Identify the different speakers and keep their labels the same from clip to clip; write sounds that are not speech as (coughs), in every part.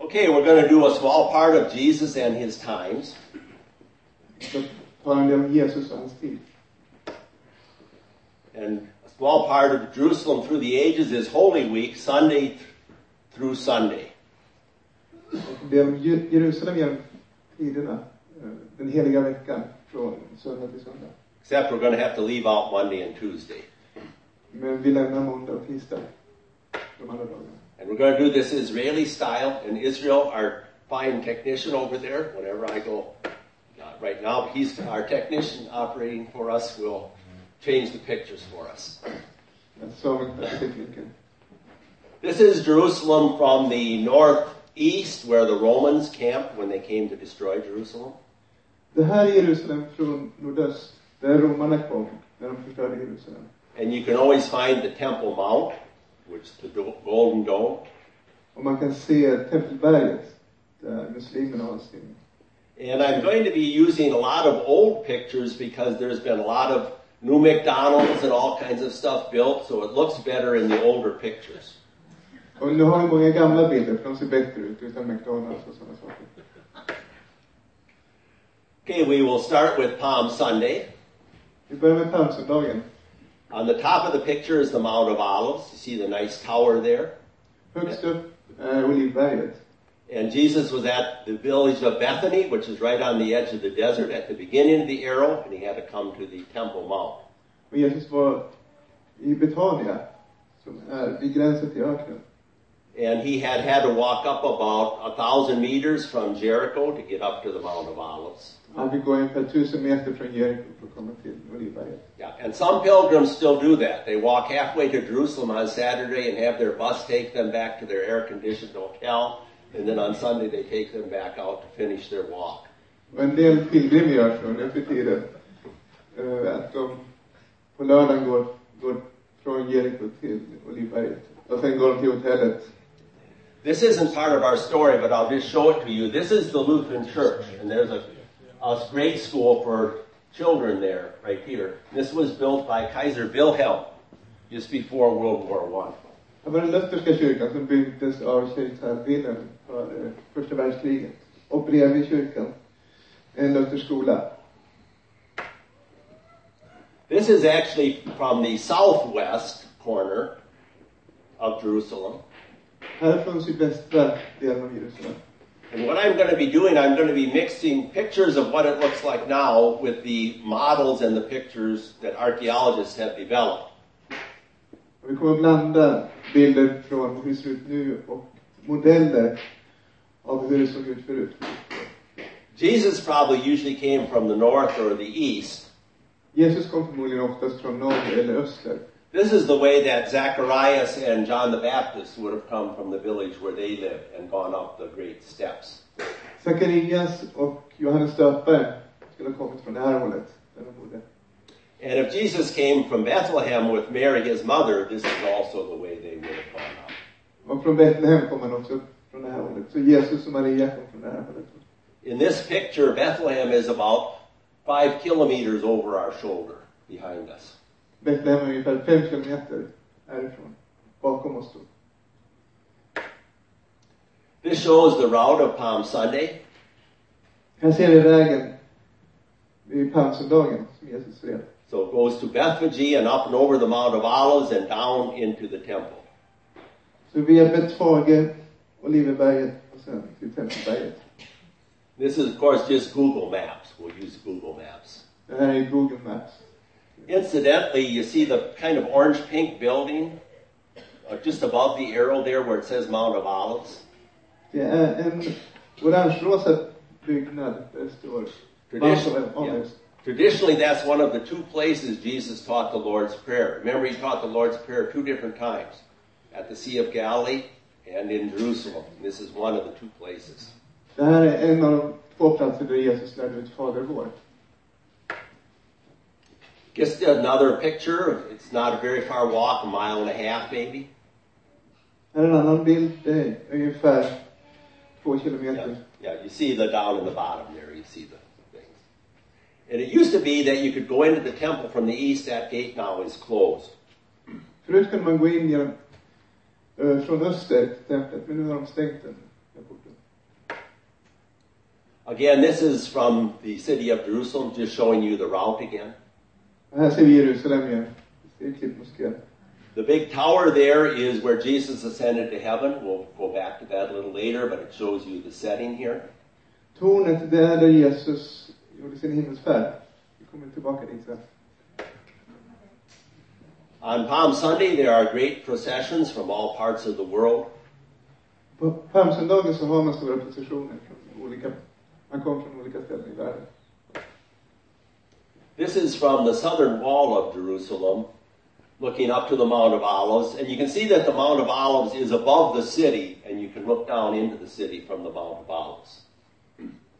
Speaker 1: okay, we're going to do a small part of Jesus and his times.
Speaker 2: Så talar han om Jesus och hans tid.
Speaker 1: And a small part of Jerusalem through the ages is Holy Week, Sunday th- through Sunday.
Speaker 2: Och det är om Ju- Jerusalem genom tiderna, eh, den heliga veckan, från söndag till söndag.
Speaker 1: Except we're going to have to leave out Monday and Tuesday.
Speaker 2: Men vi lämnar måndag och tisdag, de andra dagarna.
Speaker 1: And we're going to do this Israeli style. In Israel, our fine technician over there, whenever I go, not right now, but he's our technician operating for us, will change the pictures for us.
Speaker 2: Men Samuel är tekniken.
Speaker 1: This is Jerusalem from the northeast, where the Romans camped when they came to destroy Jerusalem.
Speaker 2: Det här är Jerusalem från nordöst, där romarna kom, när de förstörde Jerusalem.
Speaker 1: And you can always find the Temple Mount, which is the do- Golden Dome.
Speaker 2: Och man kan se tempelberget, där muslimerna har sin
Speaker 1: And I'm going to be using a lot of old pictures because there's been a lot of new McDonald's and all kinds of stuff built, so it looks better in the older pictures.
Speaker 2: Och nu har vi många gamla bilder, för de ser bättre ut utan McDonalds och sådana saker.
Speaker 1: Okay, we will start with Palm Sunday.
Speaker 2: Vi börjar med palmsöndagen.
Speaker 1: On the top of the picture is the Mount of Olives. You see the nice tower there.
Speaker 2: Högst upp är Olivberget.
Speaker 1: And Jesus was at the village of Bethany, which is right on the edge of the desert at the beginning of the arrow, and he had to come to the Temple Mount.
Speaker 2: Och Jesus var i Betania, som är vid gränsen till öknen.
Speaker 1: And he had had to walk up about a thousand meters from Jericho to get up to the Mount of Olives.
Speaker 2: Han fick gå ungefär tusen meter från Jeriko för att komma till Olivberget.
Speaker 1: Yeah, and some pilgrims still do that. They walk halfway to Jerusalem on Saturday and have their bus take them back to their air-conditioned hotel, and then on Sunday they take them back out to finish their walk.
Speaker 2: Och en del pilgrimer gör så nu för tiden. eh, Att de på lördagen går, går från Jeriko till Olivberget. Och sen går de till hotellet.
Speaker 1: This isn't part of our story, but I'll just show it to you. This is the Lutheran Church, and there's a, a grade school for children there, right here. This was built by Kaiser Wilhelm just before World War One.
Speaker 2: Det var den lutherska kyrkan som byggdes av kejsar Wilhelm för eh, första världskriget. Och bredvid kyrkan, en luthersk skola.
Speaker 1: This is actually from the southwest corner of Jerusalem.
Speaker 2: Här från sydvästra delen av Jerusalem.
Speaker 1: And what I'm going to be doing, I'm going to be mixing pictures of what it looks like now with the models and the pictures that archaeologists have developed.
Speaker 2: Och vi kommer att blanda bilder från hur det ser ut nu och modeller av hur det såg ut förut.
Speaker 1: Jesus probably usually came from the north or the east.
Speaker 2: Jesus kom förmodligen oftast från norr eller öster.
Speaker 1: This is the way that Zacharias and John the Baptist would have come from the village where they lived and gone up the great steps.
Speaker 2: Sakarias och Johannes döparen skulle ha kommit från det här hållet, där de bodde.
Speaker 1: And if Jesus came from Bethlehem with Mary, his mother, this is also the way they would have gone up.
Speaker 2: Och från Betlehem kom han också från det här hållet. Så Jesus och Maria kom från det här hållet.
Speaker 1: In this picture, Bethlehem is about five kilometers over our shoulder behind us.
Speaker 2: Betlehem är ungefär fem kilometer härifrån, bakom oss då.
Speaker 1: This shows the route of Palm Sunday.
Speaker 2: Här ser vi vägen vid palmsöndagen som Jesus red.
Speaker 1: So it goes to Bethphage and up and over the Mount of Olives and down into the temple.
Speaker 2: Så via Betfage, Oliverberget och sen till Tempelberget.
Speaker 1: This is, of course, just Google Maps. We'll use Google Maps.
Speaker 2: Det här är Google Maps.
Speaker 1: Incidentally, you see the kind of orange-pink building uh, just above the arrow there where it says Mount of Olives.
Speaker 2: Det är en orange-rosa byggnad där det står
Speaker 1: Traditionally,
Speaker 2: Mount of Olives.
Speaker 1: Traditionally, that's one of the two places Jesus taught the Lord's Prayer. Remember, he taught the Lord's Prayer two different times at the Sea of Galilee and in Jerusalem. This is one of the two places.
Speaker 2: Det här är en av de två platser där Jesus lärde ut Fader vår.
Speaker 1: Just another picture. It's not a very far walk, a mile and a half maybe.
Speaker 2: Här är en annan bild. Det är ungefär två kilometer.
Speaker 1: Yeah, yeah, you see the down in the bottom there, you see the things. And it used to be that you could go into the temple from the east, that gate now is closed.
Speaker 2: Förut kunde man gå in genom, eh, från öster till templet, men nu har de stängt den här porten.
Speaker 1: Again, this is from the city of Jerusalem, just showing you the route again.
Speaker 2: Här ser vi Jerusalem igen. Det är klippmoskén.
Speaker 1: The big tower there is where Jesus ascended to heaven. We'll go back to that a little later, but it shows you the setting here.
Speaker 2: Tornet, det är där Jesus gjorde sin himmelsfärd. Vi kommer tillbaka dit sen.
Speaker 1: On Palm Sunday, there are great processions from all parts of the world.
Speaker 2: På palmsöndagen så har man stora positioner från olika, man kommer från olika ställen i världen.
Speaker 1: This is from the southern wall of Jerusalem, looking up to the Mount of Olives. And you can see that the Mount of Olives is above the city, and you can look down into the city from the Mount of Olives.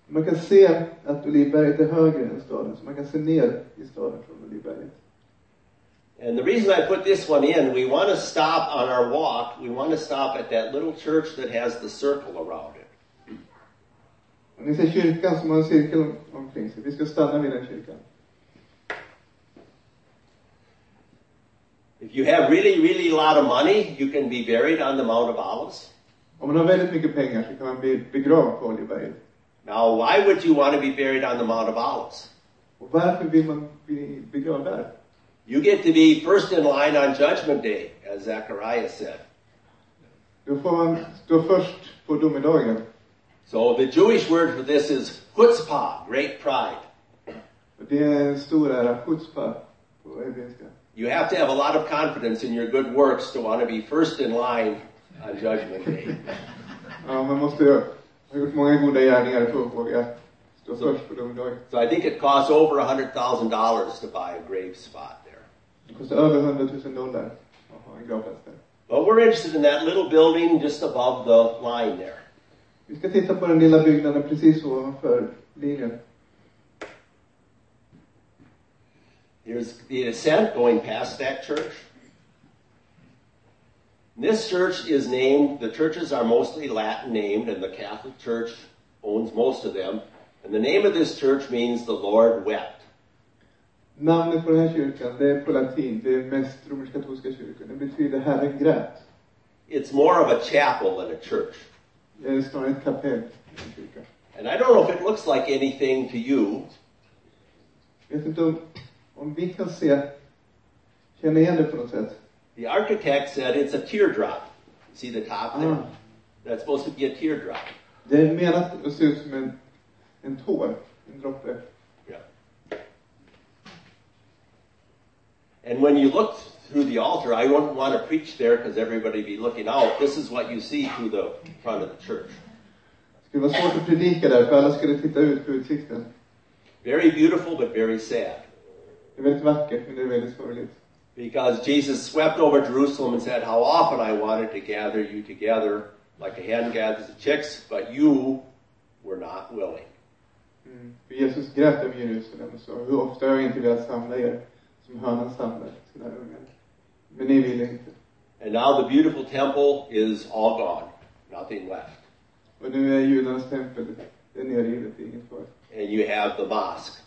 Speaker 2: Man kan se att Olivberget är högre än staden, så man kan se ner i staden från Olivberget.
Speaker 1: And the reason I put this one in, we want to stop on our walk, we want to stop at that little church that has the circle around it.
Speaker 2: Och ni ser kyrkan som har en cirkel om- omkring sig. Vi ska stanna vid den kyrkan.
Speaker 1: If you have really, really a lot of money, you can be buried on the Mount of Olives.
Speaker 2: Om man har väldigt mycket pengar så kan man bli begravd på Olivberget.
Speaker 1: Now, why would you want to be buried on the Mount of Olives?
Speaker 2: Och varför vill man bli begravd där?
Speaker 1: You get to be first in line on Judgment Day, as Zechariah said.
Speaker 2: Då får man stå först på domedagen.
Speaker 1: So the Jewish word for this is chutzpah, great pride.
Speaker 2: Och det är en stor ära, chutzpah, på hebreiska.
Speaker 1: You have to have a lot of confidence in your good works to want to be first in line on Judgment Day.
Speaker 2: Ja, man måste ju ha gjort många goda gärningar för att våga stå först på domedagen.
Speaker 1: So I think it costs over $100,000 to buy a grave spot there.
Speaker 2: Det kostar över 100 000 dollar att ha en gravplats där.
Speaker 1: But we're interested in that little building just above the line there.
Speaker 2: Vi ska titta på den lilla byggnaden precis ovanför linjen.
Speaker 1: Here's the ascent going past that church. This church is named, the churches are mostly Latin named, and the Catholic Church owns most of them. And the name of this church means the Lord wept.
Speaker 2: Namnet på den här kyrkan, det är på latin. Det är mest romersk-katolska kyrkan. Det betyder Herren grät.
Speaker 1: It's more of a chapel than a church.
Speaker 2: Det är snarare ett kapell. än en kyrka.
Speaker 1: And I don't know if it looks like anything to you,
Speaker 2: Jag vet inte om, om vi kan se, känna igen det på något sätt.
Speaker 1: The architect said it's a teardrop. See the top there?
Speaker 2: Ah.
Speaker 1: That's supposed to be a teardrop.
Speaker 2: Det är menat att se ut som en, en tår, en droppe.
Speaker 1: Yeah. And when you look through the altar, I wouldn't want to preach there because everybody would be looking out. This is what you see through the front of the church.
Speaker 2: Det skulle vara svårt att predika där, för alla skulle titta ut på utsikten.
Speaker 1: Very beautiful, but very sad.
Speaker 2: Det är väldigt vackert, men det är väldigt sorgligt.
Speaker 1: Because Jesus swept over Jerusalem and said, How often I wanted to gather you together like a hen gathers the chicks, but you were not willing.
Speaker 2: Mm. För Jesus grät över Jerusalem och sa, hur ofta har jag inte velat samla er som hönan samlar sina ungar. Men ni ville inte.
Speaker 1: And now the beautiful temple is all gone, nothing left.
Speaker 2: Och nu är judarnas tempel, det är nerrivet, det är inget kvar.
Speaker 1: And you have the mosque.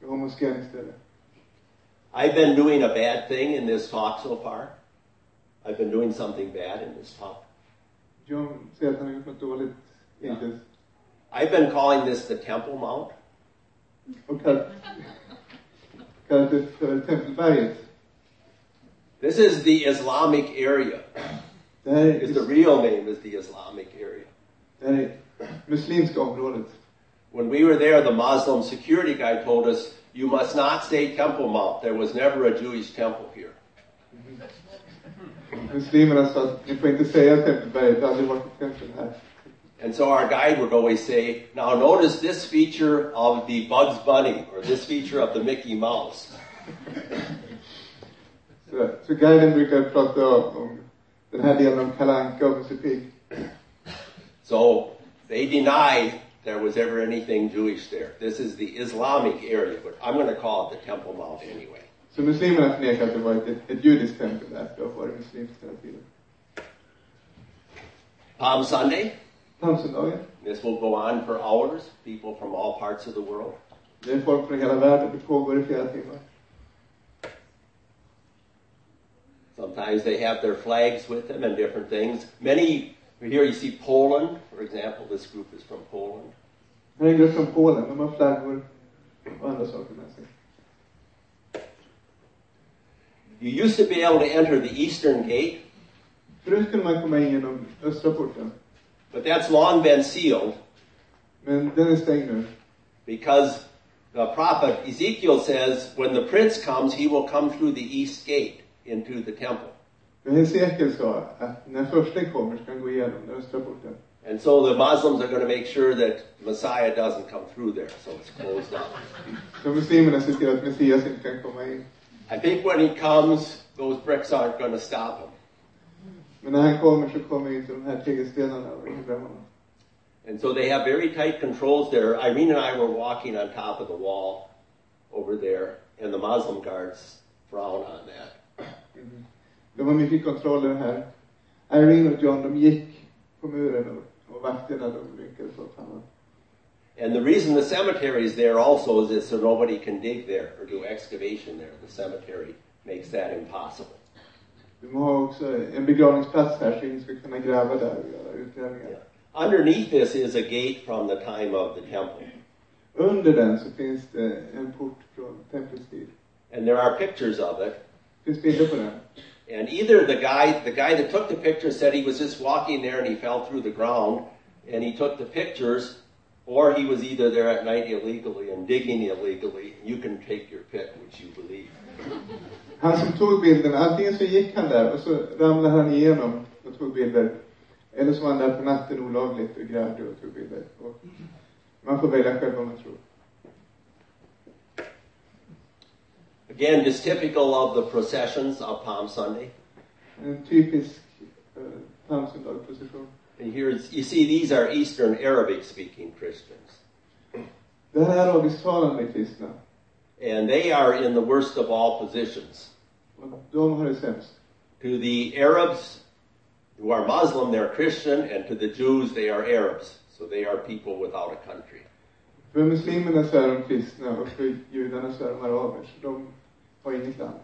Speaker 2: Vi har moskén istället.
Speaker 1: I've been doing a bad thing in this talk so far. I've been doing something bad in this talk.
Speaker 2: John säger att han har gjort något dåligt hittills.
Speaker 1: I've been calling this the Temple Mount.
Speaker 2: Och kallat, kallat det för Tempelberget.
Speaker 1: This is the Islamic area.
Speaker 2: Det här är,
Speaker 1: It's the real name is the Islamic area.
Speaker 2: det här är muslimska området.
Speaker 1: When we were there, the Muslim security guy told us, you must not say Temple Mount. There was never a Jewish temple here.
Speaker 2: Muslimerna sa att ni får inte säga Tempelberget, det har aldrig varit ett tempel här.
Speaker 1: And so our guide would always say, now notice this feature of the Bugs Bunny or this feature of the Mickey Mouse.
Speaker 2: Så, så guiden brukar prata om, om den här delen av Kalle Anka och Musse Pigg.
Speaker 1: So they deny there was ever anything Jewish there. This is the Islamic area, but I'm going to call it the Temple Mount anyway.
Speaker 2: Så muslimerna förnekar att det var ett, ett judiskt tempel där, det har varit muslimskt hela tiden.
Speaker 1: Palm Sunday,
Speaker 2: Palmsöndagen,
Speaker 1: this will go on for hours, people from all parts of the world.
Speaker 2: det är folk från hela världen, det pågår i flera timmar.
Speaker 1: Sometimes they have their flags with them and different things. Many, here you see Poland, for example, this group is from Poland.
Speaker 2: Här är en grupp från Polen, de har flaggor och andra saker med sig.
Speaker 1: You used to be able to enter the eastern gate,
Speaker 2: Förut kunde man komma in genom östra porten,
Speaker 1: but that's long been sealed
Speaker 2: men den är stängd nu.
Speaker 1: because the prophet Ezekiel says, when the prince comes, he will come through the east gate into the temple.
Speaker 2: Men Hesekiel sa att när första kommer ska han gå igenom den östra porten.
Speaker 1: And so the Muslims are going to make sure that Messiah doesn't come through there, so it's closed up.
Speaker 2: Så muslimerna ser till att Messias inte kan komma in.
Speaker 1: I think when he comes, those bricks aren't going to stop him.
Speaker 2: Men när han kommer så kommer inte de här tegelstenarna att hindra honom.
Speaker 1: And so they have very tight controls there. Irene and I were walking on top of the wall over there, and the Muslim guards frown on that.
Speaker 2: De har mycket kontroll över det här. Irene och John, de gick på muren och, och vakterna, de lyckades få fram
Speaker 1: And the reason the cemetery is there also is that so nobody can dig there or do excavation there. The cemetery makes that impossible.
Speaker 2: De har också en begravningsplats här så ingen ska kunna gräva där och göra utgrävningar.
Speaker 1: Underneath this is a gate from the time of the temple.
Speaker 2: Under den så finns det en port från templets tid.
Speaker 1: And there are pictures of it.
Speaker 2: Det finns bilder på den.
Speaker 1: And either the guy, the guy that took the picture said he was just walking there and he fell through the ground and he took the pictures, or he was either there at night illegally and digging illegally. You can take your pick, which you believe.
Speaker 2: Han som tog bilden, antingen så gick han där och så ramlade han igenom och tog bilder. Eller så var han där på natten olagligt och grävde och tog bilder. Och man får välja själv vad man tror.
Speaker 1: Again, just typical of the processions of Palm Sunday.
Speaker 2: En typisk eh, Palmsöndagsprocession.
Speaker 1: And here is- you see these are Eastern Arabic speaking Christians.
Speaker 2: Det här är arabisktalande kristna.
Speaker 1: And they are in the worst of all positions.
Speaker 2: Och de har det sämst.
Speaker 1: To the Arabs who are Muslim, they're Christian, and to the Jews, they are Arabs. So they are people without a country.
Speaker 2: För muslimerna så är de kristna och för judarna så är de araber. Så de har inget land.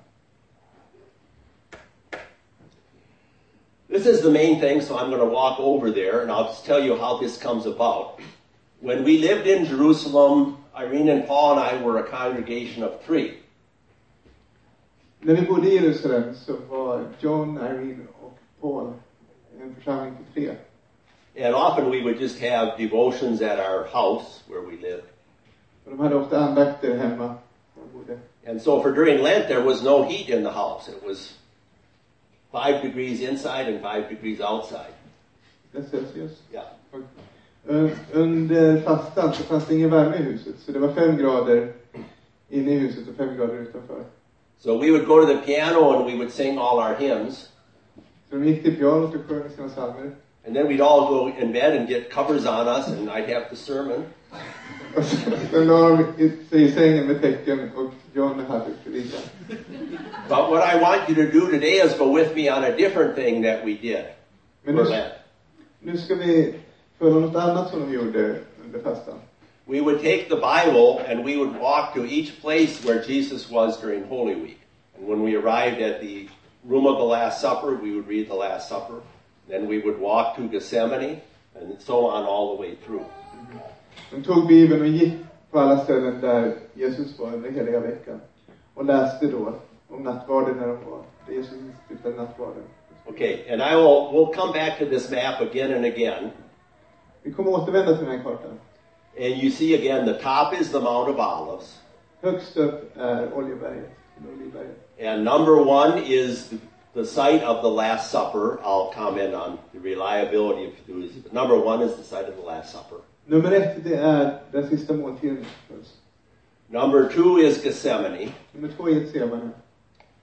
Speaker 1: This is the main thing, so I'm going to walk over there and I'll just tell you how this comes about. When we lived in Jerusalem, Irene and Paul and I were a congregation of three.
Speaker 2: När vi bodde i Jerusalem så var John, Irene och Paul en församling på tre.
Speaker 1: And often we would just have devotions at our house where we lived.
Speaker 2: Och de hade ofta andakter hemma där de bodde.
Speaker 1: And so for during Lent, there was no heat in the house. It was five degrees inside and five degrees outside.
Speaker 2: Där Celsius.
Speaker 1: Yeah.
Speaker 2: Och un- Under fastan så fanns det ingen värme i huset. Så det var fem grader inne i huset och fem grader utanför.
Speaker 1: So we would go to the piano and we would sing all our hymns.
Speaker 2: Så de gick till pianot och sjöng sina psalmer.
Speaker 1: And then we'd all go in bed and get covers on us and I'd have the sermon.
Speaker 2: Och sen sen la de i- sig i sängen med tecken och John hade predikan.
Speaker 1: But what I want you to do today is go with me on a different thing that we did.
Speaker 2: Men
Speaker 1: for
Speaker 2: nu,
Speaker 1: Lent.
Speaker 2: nu ska vi följa något annat som de gjorde under fastan.
Speaker 1: We would take the Bible and we would walk to each place where Jesus was during Holy Week. And when we arrived at the room of the Last Supper, we would read the Last Supper. Then we would walk to Gethsemane and so on all the way through.
Speaker 2: De tog Bibeln och gick på alla ställen där Jesus var under heliga veckan. Och läste då om nattvarden när de var, där Jesus instiftade nattvarden.
Speaker 1: Okay, and I will, we'll come back to this map again and again.
Speaker 2: Vi kommer återvända till den här kartan.
Speaker 1: And you see again, the top is the Mount of Olives.
Speaker 2: Högst upp är Oljeberget, eller Oljeberget.
Speaker 1: And number one is the site of the Last Supper. I'll comment on the reliability of those. But number one is the site of the Last Supper.
Speaker 2: Nummer ett, det är den sista måltiden förstås.
Speaker 1: Number two is Gethsemane.
Speaker 2: Nummer två är Getsemane.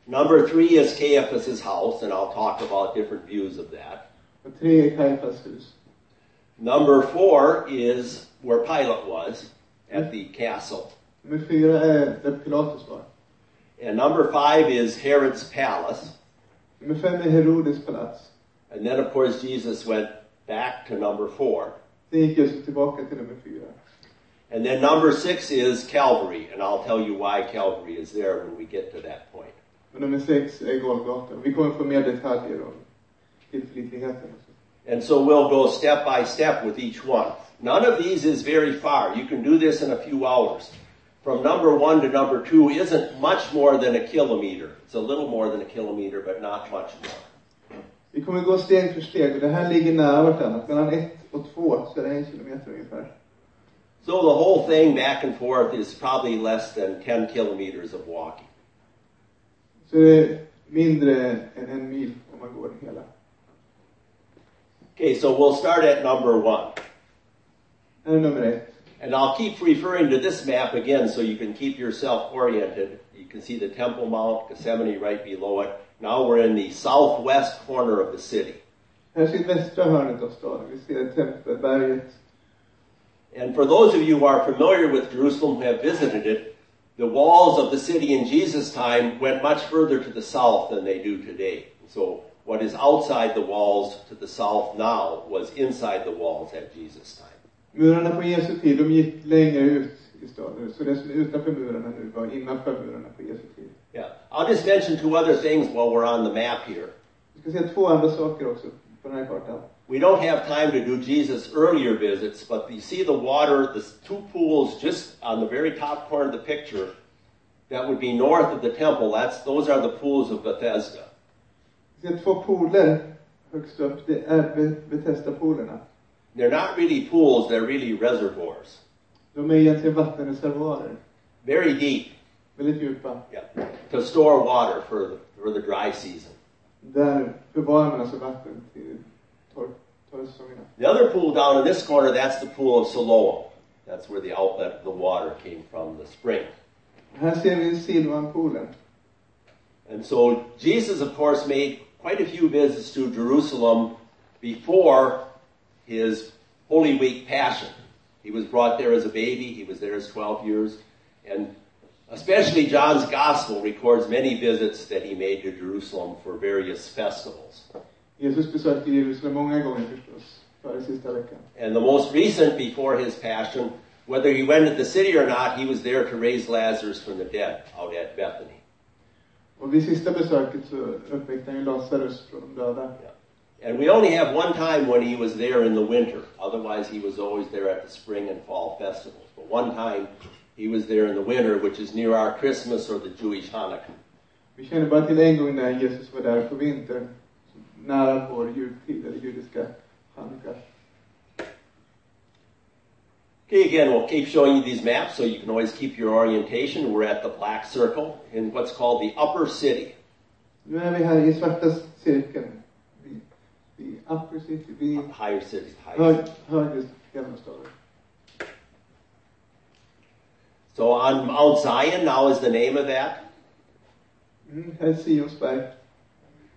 Speaker 1: Number three is Caiaphas's house, and I'll talk about different views of that.
Speaker 2: Och tre är Kajfas hus.
Speaker 1: Number four is where Pilate was at the castle.
Speaker 2: Nummer fyra är där Pilatus var.
Speaker 1: And number five is Herod's palace.
Speaker 2: Nummer fem är Herodes palats.
Speaker 1: And then, of course, Jesus went back to number four.
Speaker 2: Sen gick Jesus tillbaka till nummer fyra.
Speaker 1: And then number six is Calvary, and I'll tell you why Calvary is there when we get to that point.
Speaker 2: Och nummer sex är Golgata. Vi kommer få mer detaljer om tillförlitligheten. och så.
Speaker 1: And so we'll go step by step with each one. None of these is very far. You can do this in a few hours. From number one to number two isn't much more than a kilometer. It's a little more than a kilometer, but not much more.
Speaker 2: Vi kommer gå steg för steg och det här ligger nära vartannat. Mellan ett och två så är det en kilometer ungefär.
Speaker 1: So the whole thing back and forth is probably less than 10 kilometers of walking.
Speaker 2: Så det är mindre än en mil om man går det hela.
Speaker 1: Okay, so we'll start at number one.
Speaker 2: Här är nummer ett.
Speaker 1: And I'll keep referring to this map again so you can keep yourself oriented. You can see the Temple Mount, Gethsemane right below it. Now we're in the southwest corner of the city.
Speaker 2: Här sitter västra hörnet av staden. Vi ser tempelberget.
Speaker 1: And for those of you who are familiar with Jerusalem, who have visited it, the walls of the city in Jesus' time went much further to the south than they do today. So what is outside the walls to the south now was inside the walls at Jesus' time.
Speaker 2: Murarna på Jesu tid, de gick längre ut i staden. Så det som är utanför murarna nu var innanför murarna på Jesu tid.
Speaker 1: Yeah. I'll just mention two other things while we're on the map here.
Speaker 2: Vi ska se två andra saker också på den här kartan.
Speaker 1: We don't have time to do Jesus' earlier visits, but you see the water, the two pools just on the very top corner of the picture that would be north of the temple. That's, those are the pools of Bethesda.
Speaker 2: Vi ser två pooler högst upp. Det är Be- Bethesda-poolerna.
Speaker 1: They're not really pools, they're really reservoirs.
Speaker 2: De är egentligen vattenreservoarer.
Speaker 1: Very deep
Speaker 2: Väldigt djupa.
Speaker 1: yeah, to store water for the, for the dry season.
Speaker 2: Där förvarar man alltså vatten till torr- torrsäsongerna.
Speaker 1: The other pool down in this corner, that's the pool of Siloam. That's where the outlet of the water came from, the spring.
Speaker 2: Här ser vi Silvanpoolen.
Speaker 1: And so Jesus, of course, made quite a few visits to Jerusalem before his Holy Week Passion. He was brought there as a baby. He was there as 12 years. And especially John's Gospel records many visits that he made to Jerusalem for various festivals.
Speaker 2: Jesus besökte Jerusalem många gånger förstås, före sista veckan.
Speaker 1: And the most recent before his passion, whether he went to the city or not, he was there to raise Lazarus from the dead out at Bethany.
Speaker 2: Och vid sista besöket så uppväckte han ju Lazarus från de döda.
Speaker 1: And we only have one time when he was there in the winter. Otherwise, he was always there at the spring and fall festivals. But one time, he was there in the winter, which is near our Christmas or the Jewish Hanukkah.
Speaker 2: Vi känner bara till en gång när Jesus var där på vintern, nära vår jultid, eller judiska hanukkah.
Speaker 1: Okay, again, we'll keep showing you these maps so you can always keep your orientation. We're at the black circle in what's called the upper city.
Speaker 2: Nu är vi här i svarta cirkeln, vid, vid Upper City, vid
Speaker 1: Higher city. Higher
Speaker 2: hög, högre gamla staden.
Speaker 1: So on Mount Zion now is the name of that.
Speaker 2: Mm, här är Sionsberg.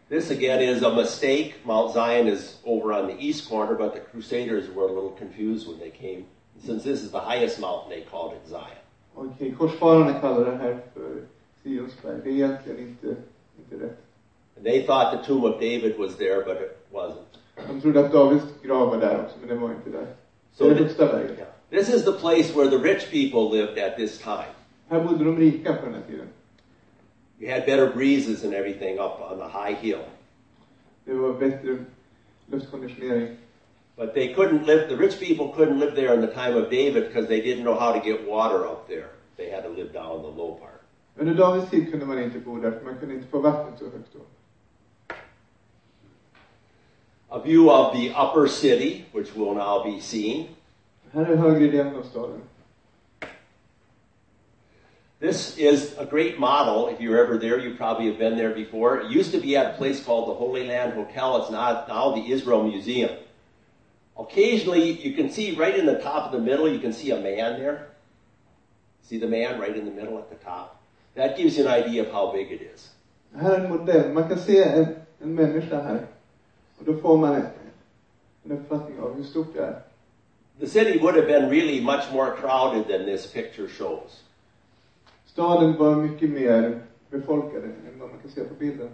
Speaker 1: This again is a mistake. Mount Zion is over on the east corner, but the Crusaders were a little confused when they came. Since this is the highest mountain, they called it Zion.
Speaker 2: Okej, korsfararna kallar det här för Sionsberg. Det är egentligen inte, inte rätt.
Speaker 1: And they thought the tomb of David was there, but it wasn't.
Speaker 2: De trodde att Davids grav var där också, men den var inte där.
Speaker 1: So
Speaker 2: Så det är
Speaker 1: thi-
Speaker 2: högsta berget.
Speaker 1: yeah. this is the place where the rich people lived at this time.
Speaker 2: Här bodde de rika på den här tiden.
Speaker 1: You had better breezes and everything up on the high hill.
Speaker 2: Det var bättre luftkonditionering.
Speaker 1: But they couldn't live, the rich people couldn't live there in the time of David because they didn't know how to get water up there. They had to live down in the low part.
Speaker 2: Under Davids tid kunde man inte bo där, för man kunde inte få vattnet så högt då.
Speaker 1: A view of the upper city, which will now be seen.
Speaker 2: Här är högre delen av staden.
Speaker 1: This is a great model. If you're ever there, you probably have been there before. It used to be at a place called the Holy Land Hotel. It's not now the Israel Museum. Occasionally, you can see right in the top of the middle, you can see a man there. See the man right in the middle at the top? That gives you an idea of how big it is.
Speaker 2: Här är en modell. Man kan se en, en människa här. Och då får man en, en uppfattning av hur stort det är.
Speaker 1: The city would have been really much more crowded than this picture shows.
Speaker 2: Staden var mycket mer befolkad än vad man kan se på bilden.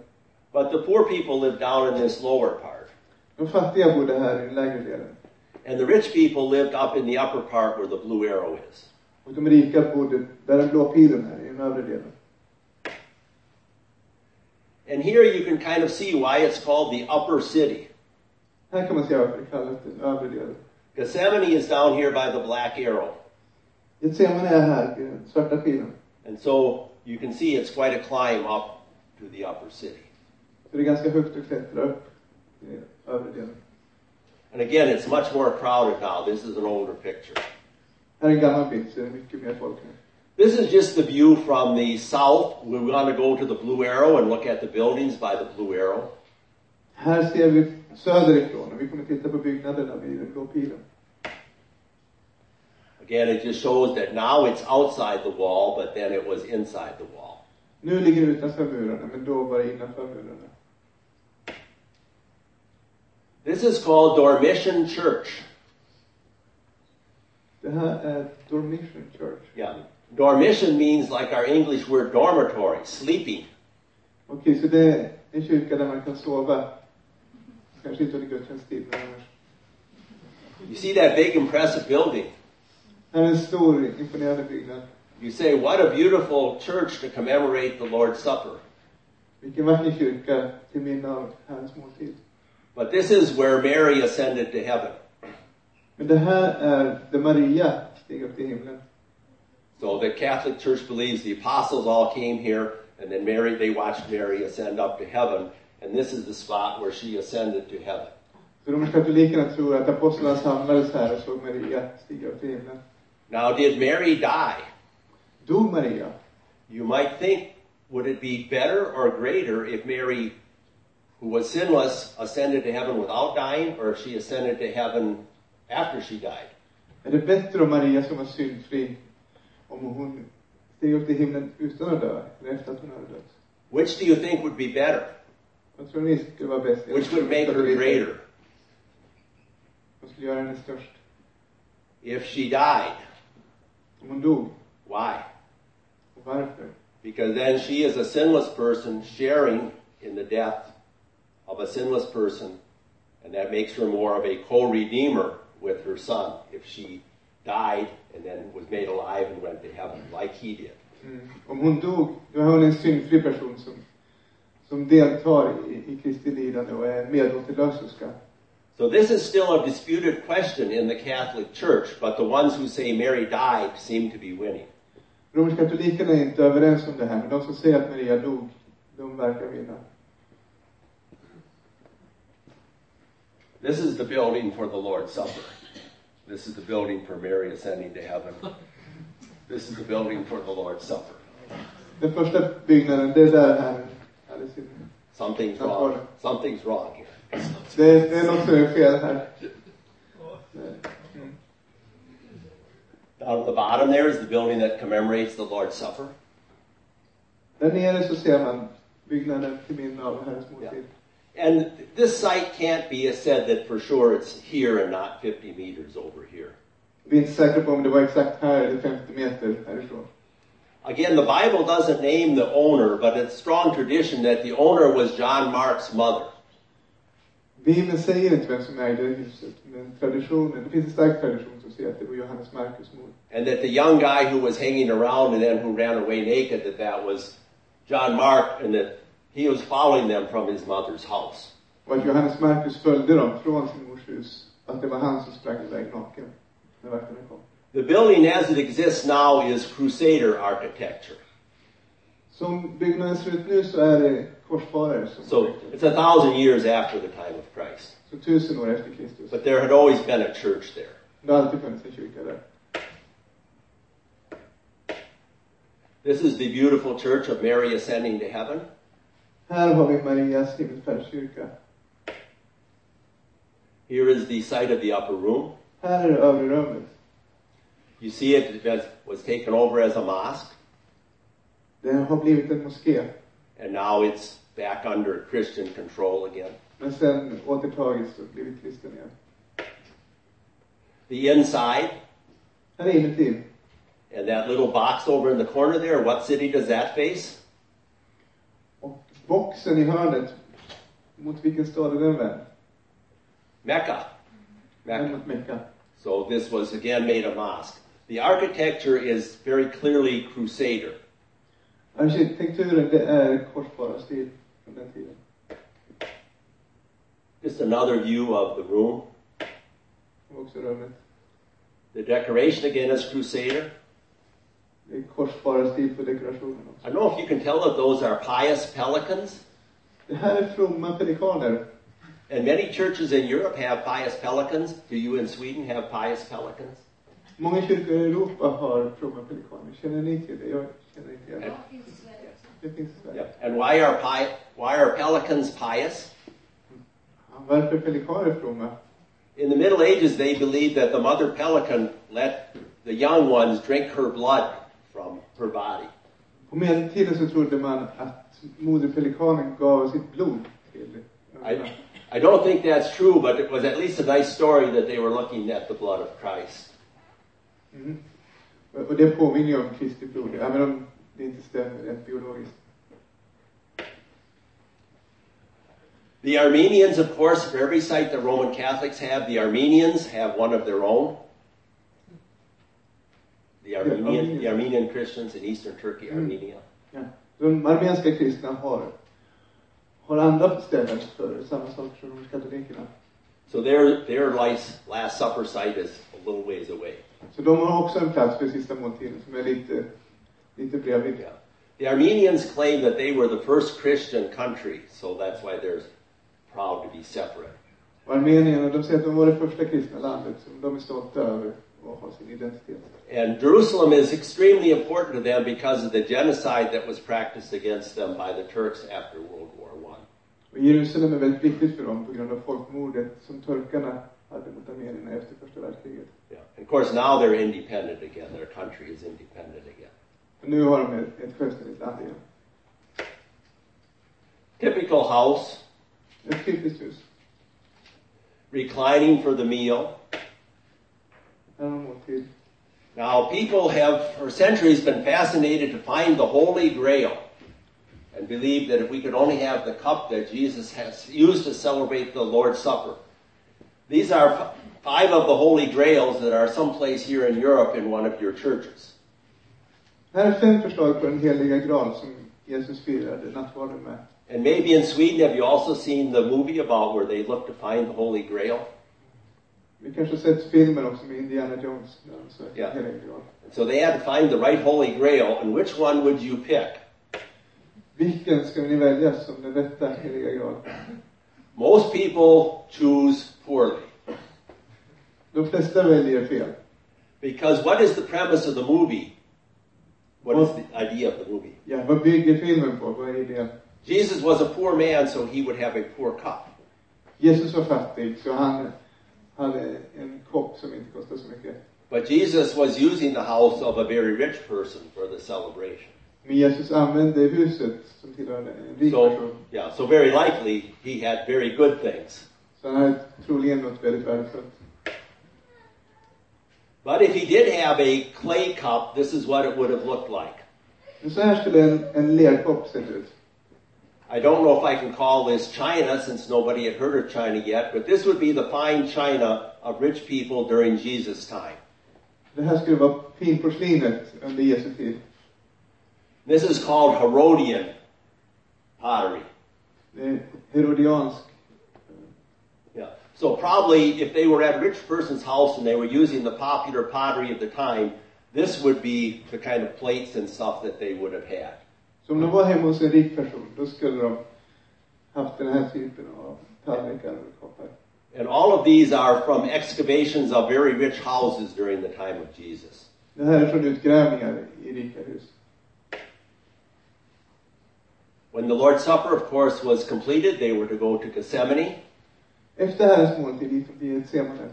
Speaker 1: But the poor people lived down in this lower part.
Speaker 2: De fattiga bodde här i den lägre delen.
Speaker 1: And the rich people lived up in the upper part where the blue arrow is.
Speaker 2: Och de rika bodde där den blå pilen är, i den övre delen.
Speaker 1: And here you can kind of see why it's called the upper city.
Speaker 2: Här kan man se varför det kallas den övre delen.
Speaker 1: Gethsemane is down here by the black arrow.
Speaker 2: Getsemane är här, i den svarta pilen.
Speaker 1: And so you can see it's quite a climb up to the upper city.
Speaker 2: Så det är ganska högt att klättra upp i övre delen.
Speaker 1: And again, it's much more crowded now. This is an older picture.
Speaker 2: Här är en gammal bild, så det är mycket mer folk nu.
Speaker 1: This is just the view from the south. We're going to go to the Blue Arrow and look at the buildings by the Blue Arrow.
Speaker 2: Här ser vi söderifrån och vi kommer titta på byggnaderna vid den blå pilen.
Speaker 1: Again, it just shows that now it's outside the wall, but then it was inside the wall.
Speaker 2: Nu ligger det utanför murarna, men då var det innanför murarna.
Speaker 1: This is called Dormition Church.
Speaker 2: Det här är Dormition Church.
Speaker 1: Yeah. Dormition means like our English word dormitory, sleeping.
Speaker 2: Okej, så det är en kyrka där man kan sova. Kanske inte under gudstjänsttid, men annars.
Speaker 1: You see that big impressive building.
Speaker 2: Här är en stor, imponerande byggnad.
Speaker 1: You say, what a beautiful church to commemorate the Lord's Supper.
Speaker 2: Vilken vacker kyrka till minne av Herrens måltid.
Speaker 1: But this is where Mary ascended to heaven.
Speaker 2: Men det här är där Maria steg upp till himlen.
Speaker 1: So the Catholic Church believes the apostles all came here, and then Mary, they watched Mary ascend up to heaven, and this is the spot where she ascended to heaven.
Speaker 2: Så de katolikerna tror att apostlarna samlades här och såg Maria stiga upp till himlen.
Speaker 1: Now, did Mary die?
Speaker 2: Dog Maria?
Speaker 1: You might think, would it be better or greater if Mary, who was sinless, ascended to heaven without dying, or if she ascended to heaven after she died?
Speaker 2: Är det bättre om Maria som var syndfri, om hon steg upp till himlen utan att dö, eller efter att hon hade dött?
Speaker 1: Which do you think would be better?
Speaker 2: Vad tror ni skulle vara bäst? Jag
Speaker 1: Which
Speaker 2: tror
Speaker 1: would make her
Speaker 2: katoliker.
Speaker 1: greater?
Speaker 2: Vad skulle göra henne störst?
Speaker 1: If she died.
Speaker 2: Om hon dog?
Speaker 1: Why?
Speaker 2: Och varför?
Speaker 1: Because then she is a sinless person sharing in the death of a sinless person, and that makes her more of a co-redeemer with her son if she died and then was made alive and went to heaven like he did.
Speaker 2: Mm. Om hon dog, då är hon en syndfri person som, som deltar i, i Kristi lidande och är medåterlöserska.
Speaker 1: So this is still a disputed question in the Catholic Church, but the ones who say Mary died seem to be winning.
Speaker 2: Romersk-katolikerna är inte överens om det här, men de som säger att Maria dog, de verkar vinna.
Speaker 1: This is the building for the Lord's Supper. This is the building for Mary ascending to heaven. This is the building for the Lord's Supper.
Speaker 2: Den första byggnaden, det är där Herren hade sin...
Speaker 1: Something's wrong. Something's wrong here.
Speaker 2: Det är, det är något som är fel här.
Speaker 1: Down at the bottom there is the building that commemorates the Lord's Supper.
Speaker 2: Där nere så ser man byggnaden till minne av Herrens måltid.
Speaker 1: And this site can't be said that for sure it's here and not 50 meters over here.
Speaker 2: Vi är inte säkra på om det var exakt här eller 50 meter härifrån.
Speaker 1: Again, the Bible doesn't name the owner, but it's strong tradition that the owner was John Mark's mother.
Speaker 2: Bibeln säger inte vem som ägde huset, men traditionen, det finns en stark tradition som säger att det var Johannes Markus mor.
Speaker 1: And that the young guy who was hanging around and then who ran away naked, that that was John Mark and that he was following them from his mother's house.
Speaker 2: Och att Johannes Markus följde dem från sin mors hus. Att det var han som sprang iväg naken när vakterna kom.
Speaker 1: The building as it exists now is Crusader architecture.
Speaker 2: Som byggnaden ser ut nu så är det korsfarare som
Speaker 1: So it's a thousand years after the time of Christ.
Speaker 2: Så tusen år efter Kristus.
Speaker 1: But there had always been a church there.
Speaker 2: Det har alltid funnits en kyrka där.
Speaker 1: This is the beautiful church of Mary ascending to heaven.
Speaker 2: Här har vi Marias himmelsfärdskyrka.
Speaker 1: Here is the site of the upper room.
Speaker 2: Här är det övre rummet.
Speaker 1: You see it was- was taken over as a mosque,
Speaker 2: Det har blivit en moské.
Speaker 1: and now it's back under Christian control again.
Speaker 2: Men sen återtagits och blivit kristen igen.
Speaker 1: The inside,
Speaker 2: Här är inuti.
Speaker 1: and that little box over in the corner there, what city does that face?
Speaker 2: Och boxen i hörnet, mot vilken stad är den vänd?
Speaker 1: Mecca.
Speaker 2: Den
Speaker 1: Mecca.
Speaker 2: mot Mecka.
Speaker 1: So this was again made a mosque. The architecture is very clearly Crusader.
Speaker 2: Arkitekturen, det är korsfararstil från den tiden.
Speaker 1: Just another view of the room.
Speaker 2: Och också rummet.
Speaker 1: The decoration again is Crusader.
Speaker 2: Det är korsbara stil på dekorationen också.
Speaker 1: I don't know if you can tell that those are pious pelicans.
Speaker 2: Det här är fromma pelikaner.
Speaker 1: And many churches in Europe have pious pelicans. Do you in Sweden have pious pelicans?
Speaker 2: Många kyrkor i Europa har fromma pelikaner. Känner ni till det? Jag känner inte igen det.
Speaker 3: Ja, finns i Sverige också.
Speaker 2: Det finns i Sverige.
Speaker 1: Yep. And why are pi- why are pelicans pious?
Speaker 2: Ja, Varför är pelikaner fromma?
Speaker 1: In the Middle Ages, they believed that the mother pelican let the young ones drink her blood from her body.
Speaker 2: På medeltiden så trodde man att moderpelikanen gav sitt blod till
Speaker 1: I, I don't think that's true, but it was at least a nice story that they were looking at the blood of Christ.
Speaker 2: Mm. Och och det påminner ju om Kristi blod, även om det inte stämmer rent biologiskt.
Speaker 1: The Armenians, of course, for every site the Roman Catholics have, the Armenians have one of their own. The Armenian, the Armenian Christians in eastern Turkey, Armenia.
Speaker 2: Ja. De armeniska kristna har, har andra ställen för samma saker som de katolikerna.
Speaker 1: So their their life's Last Supper site is a little ways away.
Speaker 2: Så de har också en plats för sista måltiden som är lite, lite bredvid.
Speaker 1: Yeah. The Armenians claim that they were the first Christian country, so that's why they're proud to be separate.
Speaker 2: Och armenierna, de säger att de var det första kristna landet som de är stolta över och har sin identitet.
Speaker 1: And Jerusalem is extremely important to them because of the genocide that was practiced against them by the Turks after World War One.
Speaker 2: Och Jerusalem är väldigt viktigt för dem på grund av folkmordet som turkarna hade mot armenierna efter första världskriget.
Speaker 1: Yeah. And of course, now they're independent again. Their country is independent again.
Speaker 2: Och nu har de ett, ett självständigt land igen.
Speaker 1: Typical house,
Speaker 2: Ett typiskt hus.
Speaker 1: reclining for the meal.
Speaker 2: Här har de måltid.
Speaker 1: Now, people have for centuries been fascinated to find the Holy Grail and believe that if we could only have the cup that Jesus has used to celebrate the Lord's Supper. These are f- five of the Holy Grails that are someplace here in Europe in one of your churches.
Speaker 2: Här är fem förslag på den heliga graal som Jesus firade nattvarden med.
Speaker 1: And maybe in Sweden, have you also seen the movie about where they look to find the Holy Grail?
Speaker 2: Vi kanske har sett filmen också med Indiana Jones när han söker
Speaker 1: Ja.
Speaker 2: den heliga graal.
Speaker 1: And so they had to find the right Holy Grail, and which one would you pick?
Speaker 2: Vilken ska ni välja som den rätta heliga graal?
Speaker 1: Most people choose poorly.
Speaker 2: De flesta väljer fel.
Speaker 1: Because what is the premise of the movie? What is the idea of the movie?
Speaker 2: Ja, vad bygger filmen på? Vad är idén?
Speaker 1: Jesus was a poor man, so he would have a poor cup.
Speaker 2: Jesus var fattig, så han hade en kopp som inte kostade så mycket.
Speaker 1: But Jesus was using the house of a very rich person for the celebration.
Speaker 2: Men Jesus använde huset som tillhörde en rik
Speaker 1: So,
Speaker 2: person.
Speaker 1: yeah, so very likely he had very good things.
Speaker 2: Så han hade troligen något väldigt värdefullt.
Speaker 1: But if he did have a clay cup, this is what it would have looked like.
Speaker 2: Men så här skulle en, en lerkopp sett ut.
Speaker 1: I don't know if I can call this China since nobody had heard of China yet, but this would be the fine China of rich people during Jesus' time.
Speaker 2: Det här skulle vara finporslinet under Jesu tid.
Speaker 1: This is called Herodian pottery.
Speaker 2: Det är herodiansk.
Speaker 1: Yeah. So probably if they were at a rich person's house and they were using the popular pottery of the time, this would be the kind of plates and stuff that they would have had.
Speaker 2: Så om de var hemma hos en rik person, då skulle de haft den här typen av tallrikar och koppar.
Speaker 1: And all of these are from excavations of very rich houses during the time of Jesus.
Speaker 2: Det här är från utgrävningar i rika hus.
Speaker 1: When the Lord's Supper, of course, was completed, they were to go to Gethsemane.
Speaker 2: Efter Herrens måltid gick de till Getsemane.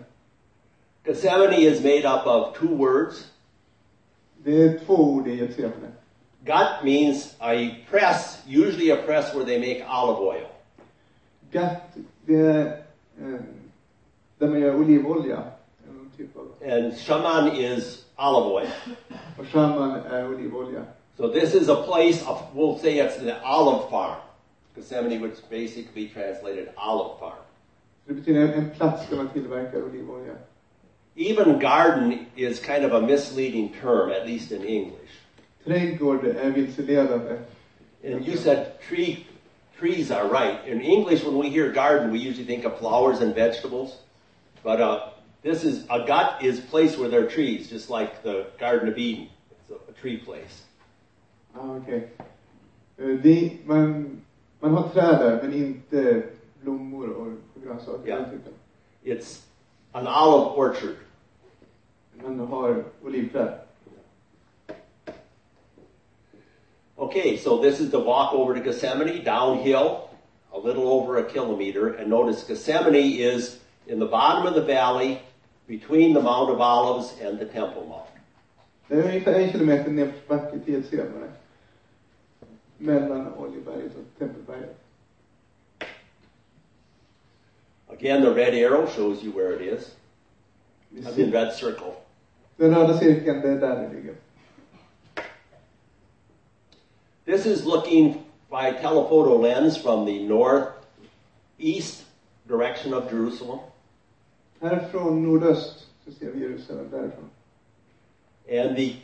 Speaker 1: Gethsemane is made up of two words.
Speaker 2: Det är två ord i Getsemane.
Speaker 1: Gut means a press, usually a press where they make olive oil.
Speaker 2: Gatt, det är eh, där man gör olivolja. eller Någon typ av.
Speaker 1: And shaman is olive oil.
Speaker 2: Och shaman är olivolja.
Speaker 1: So this is a place of, we'll say it's the olive farm. Gethsemane would basically translated olive farm.
Speaker 2: Det betyder en plats där man tillverkar olivolja.
Speaker 1: Even garden is kind of a misleading term, at least in English.
Speaker 2: Trädgård är vilseledande.
Speaker 1: And you said tree, trees are right. In English, when we hear garden, we usually think of flowers and vegetables. But uh, this is a gut is place where there are trees, just like the Garden of Eden. It's a, a tree place.
Speaker 2: Ah, okej. Eh, det- Man, man har träd där, men inte blommor och grönsaker.
Speaker 1: Ja.
Speaker 2: den typen.
Speaker 1: It's an olive orchard.
Speaker 2: Man har olivträd.
Speaker 1: Okay, so this is the walk over to Gethsemane, downhill, a little over a kilometer. And notice Gethsemane is in the bottom of the valley between the Mount of Olives and the Temple Mount.
Speaker 2: Det är ungefär en kilometer nedförsbacke till Getsemane. Mellan Oljeberget och Tempelberget.
Speaker 1: Again, the red arrow shows you where it is.
Speaker 2: Vi
Speaker 1: I mean,
Speaker 2: ser-
Speaker 1: red circle.
Speaker 2: Den röda cirkeln, det är där det ligger.
Speaker 1: This is looking by telephoto lens from the northeast direction of Jerusalem.
Speaker 2: Härifrån nordöst så ser vi Jerusalem därifrån.
Speaker 1: And the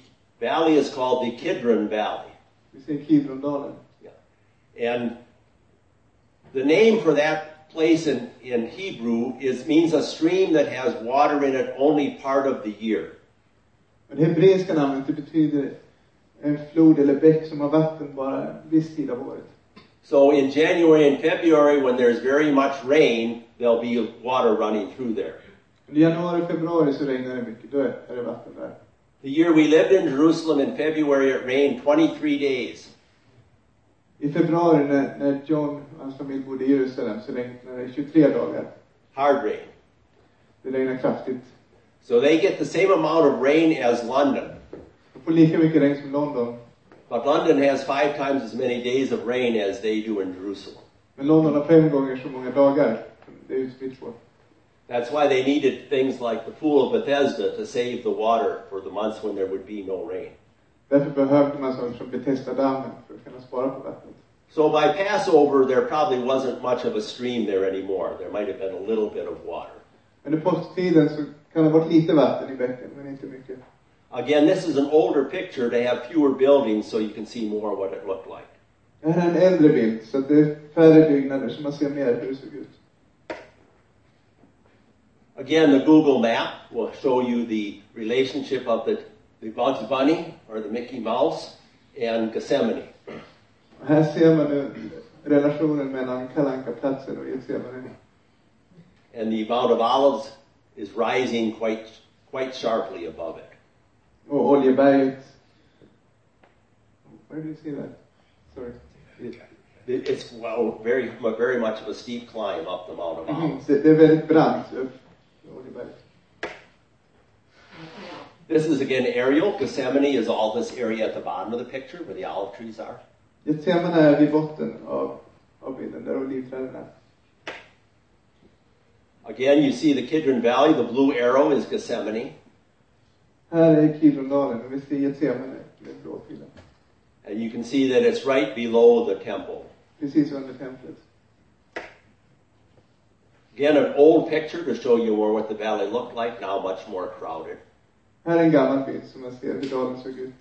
Speaker 1: valley is called the Kidron Valley.
Speaker 2: Vi ser Kidrondalen.
Speaker 1: And the name for that place in, in Hebrew is means a stream that has water in it only part of the year.
Speaker 2: Men det hebreiska namnet det betyder en flod eller bäck som har vatten bara en viss tid av året.
Speaker 1: So in January and February, when there's very much rain, there'll be water running through there.
Speaker 2: Under januari och februari så regnar det mycket, då är det vatten där.
Speaker 1: The year we lived in Jerusalem in February, it rained 23 days.
Speaker 2: I februari när, när John och hans familj bodde i Jerusalem så regnade det 23 dagar.
Speaker 1: Hard rain.
Speaker 2: Det regnade kraftigt.
Speaker 1: So they get the same amount of rain as London.
Speaker 2: De får lika mycket regn som London.
Speaker 1: But London has five times as many days of rain as they do in Jerusalem.
Speaker 2: Men London har fem gånger så många dagar. Det är utspritt på.
Speaker 1: That's why they needed things like the Pool of Bethesda to save the water for the months when there would be no rain.
Speaker 2: Därför behövde man saker som Bethesda dammen för att kunna spara på vattnet.
Speaker 1: So by Passover, there probably wasn't much of a stream there anymore. There might have been a little bit of water.
Speaker 2: Under påsktiden så kan det ha varit lite vatten i bäcken, men inte mycket.
Speaker 1: Again, this is an older picture to have fewer buildings so you can see more what it looked like.
Speaker 2: Det här är en äldre bild, så att det är färre byggnader, så man ser mer hur det såg ut.
Speaker 1: Again, the Google map will show you the relationship of the, the Bugs Bunny or the Mickey Mouse and Gethsemane.
Speaker 2: Och här ser man nu relationen mellan Kalle platsen och Getsemane.
Speaker 1: And the Mount of Olives is rising quite, quite sharply above it.
Speaker 2: Och Oljeberget. Where do you see that? Sorry.
Speaker 1: It, it- it's well, very, very much of a steep climb up the Mount of Olives.
Speaker 2: Mm, Det, det är väldigt brant upp Oljeberget.
Speaker 1: This is again aerial. Gethsemane is all this area at the bottom of the picture where the olive trees are.
Speaker 2: Getsemane är vid botten av, av bilden, där olivträden är.
Speaker 1: Again, you see the Kidron Valley. The blue arrow is Gethsemane,
Speaker 2: Här är Kidrondalen och vi ser Getsemane med blå pilen.
Speaker 1: and you can see that it's right below the temple.
Speaker 2: Precis under templet.
Speaker 1: Again, an old picture to show you more what the valley looked like. Now much more crowded.
Speaker 2: Här är en gammal bild som man ser hur dalen såg ut.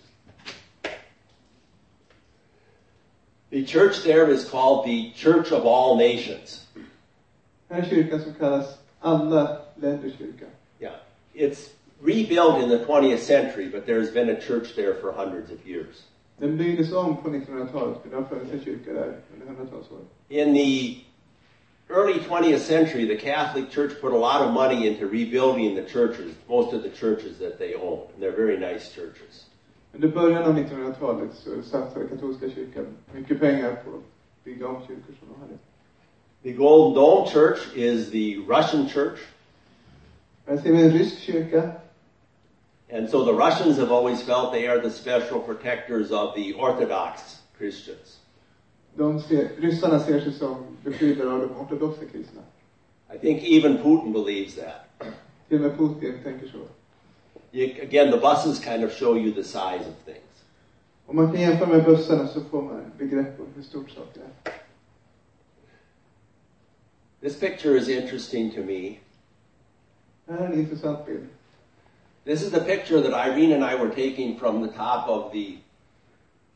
Speaker 1: The church there is called the Church of All Nations.
Speaker 2: Här är kyrkan som kallas Alla länders kyrka.
Speaker 1: Yeah, it's rebuilt in the 20th century, but there's been a church there for hundreds of years.
Speaker 2: Den byggdes om på 1900-talet, men det har funnits en kyrka där under hundratals år.
Speaker 1: In the early 20th century, the Catholic Church put a lot of money into rebuilding the churches, most of the churches that they own. And they're very nice churches.
Speaker 2: Under början av 1900-talet så satsade katolska kyrkan mycket pengar på att bygga om kyrkor som de hade.
Speaker 1: The Golden Dome Church is the Russian church,
Speaker 2: Här ser vi en rysk kyrka.
Speaker 1: and so the Russians have always felt they are the special protectors of the Orthodox Christians.
Speaker 2: De ser, ryssarna ser sig som beskyddare av de ortodoxa kristna.
Speaker 1: I think even Putin believes that.
Speaker 2: Till och med Putin tänker så.
Speaker 1: You, again, the buses kind of show you the size of things.
Speaker 2: Om man kan jämföra med bussarna så får man begrepp om hur stort saker är.
Speaker 1: This picture is interesting to me.
Speaker 2: Det här är en intressant bild.
Speaker 1: This is the picture that Irene and I were taking from the top of the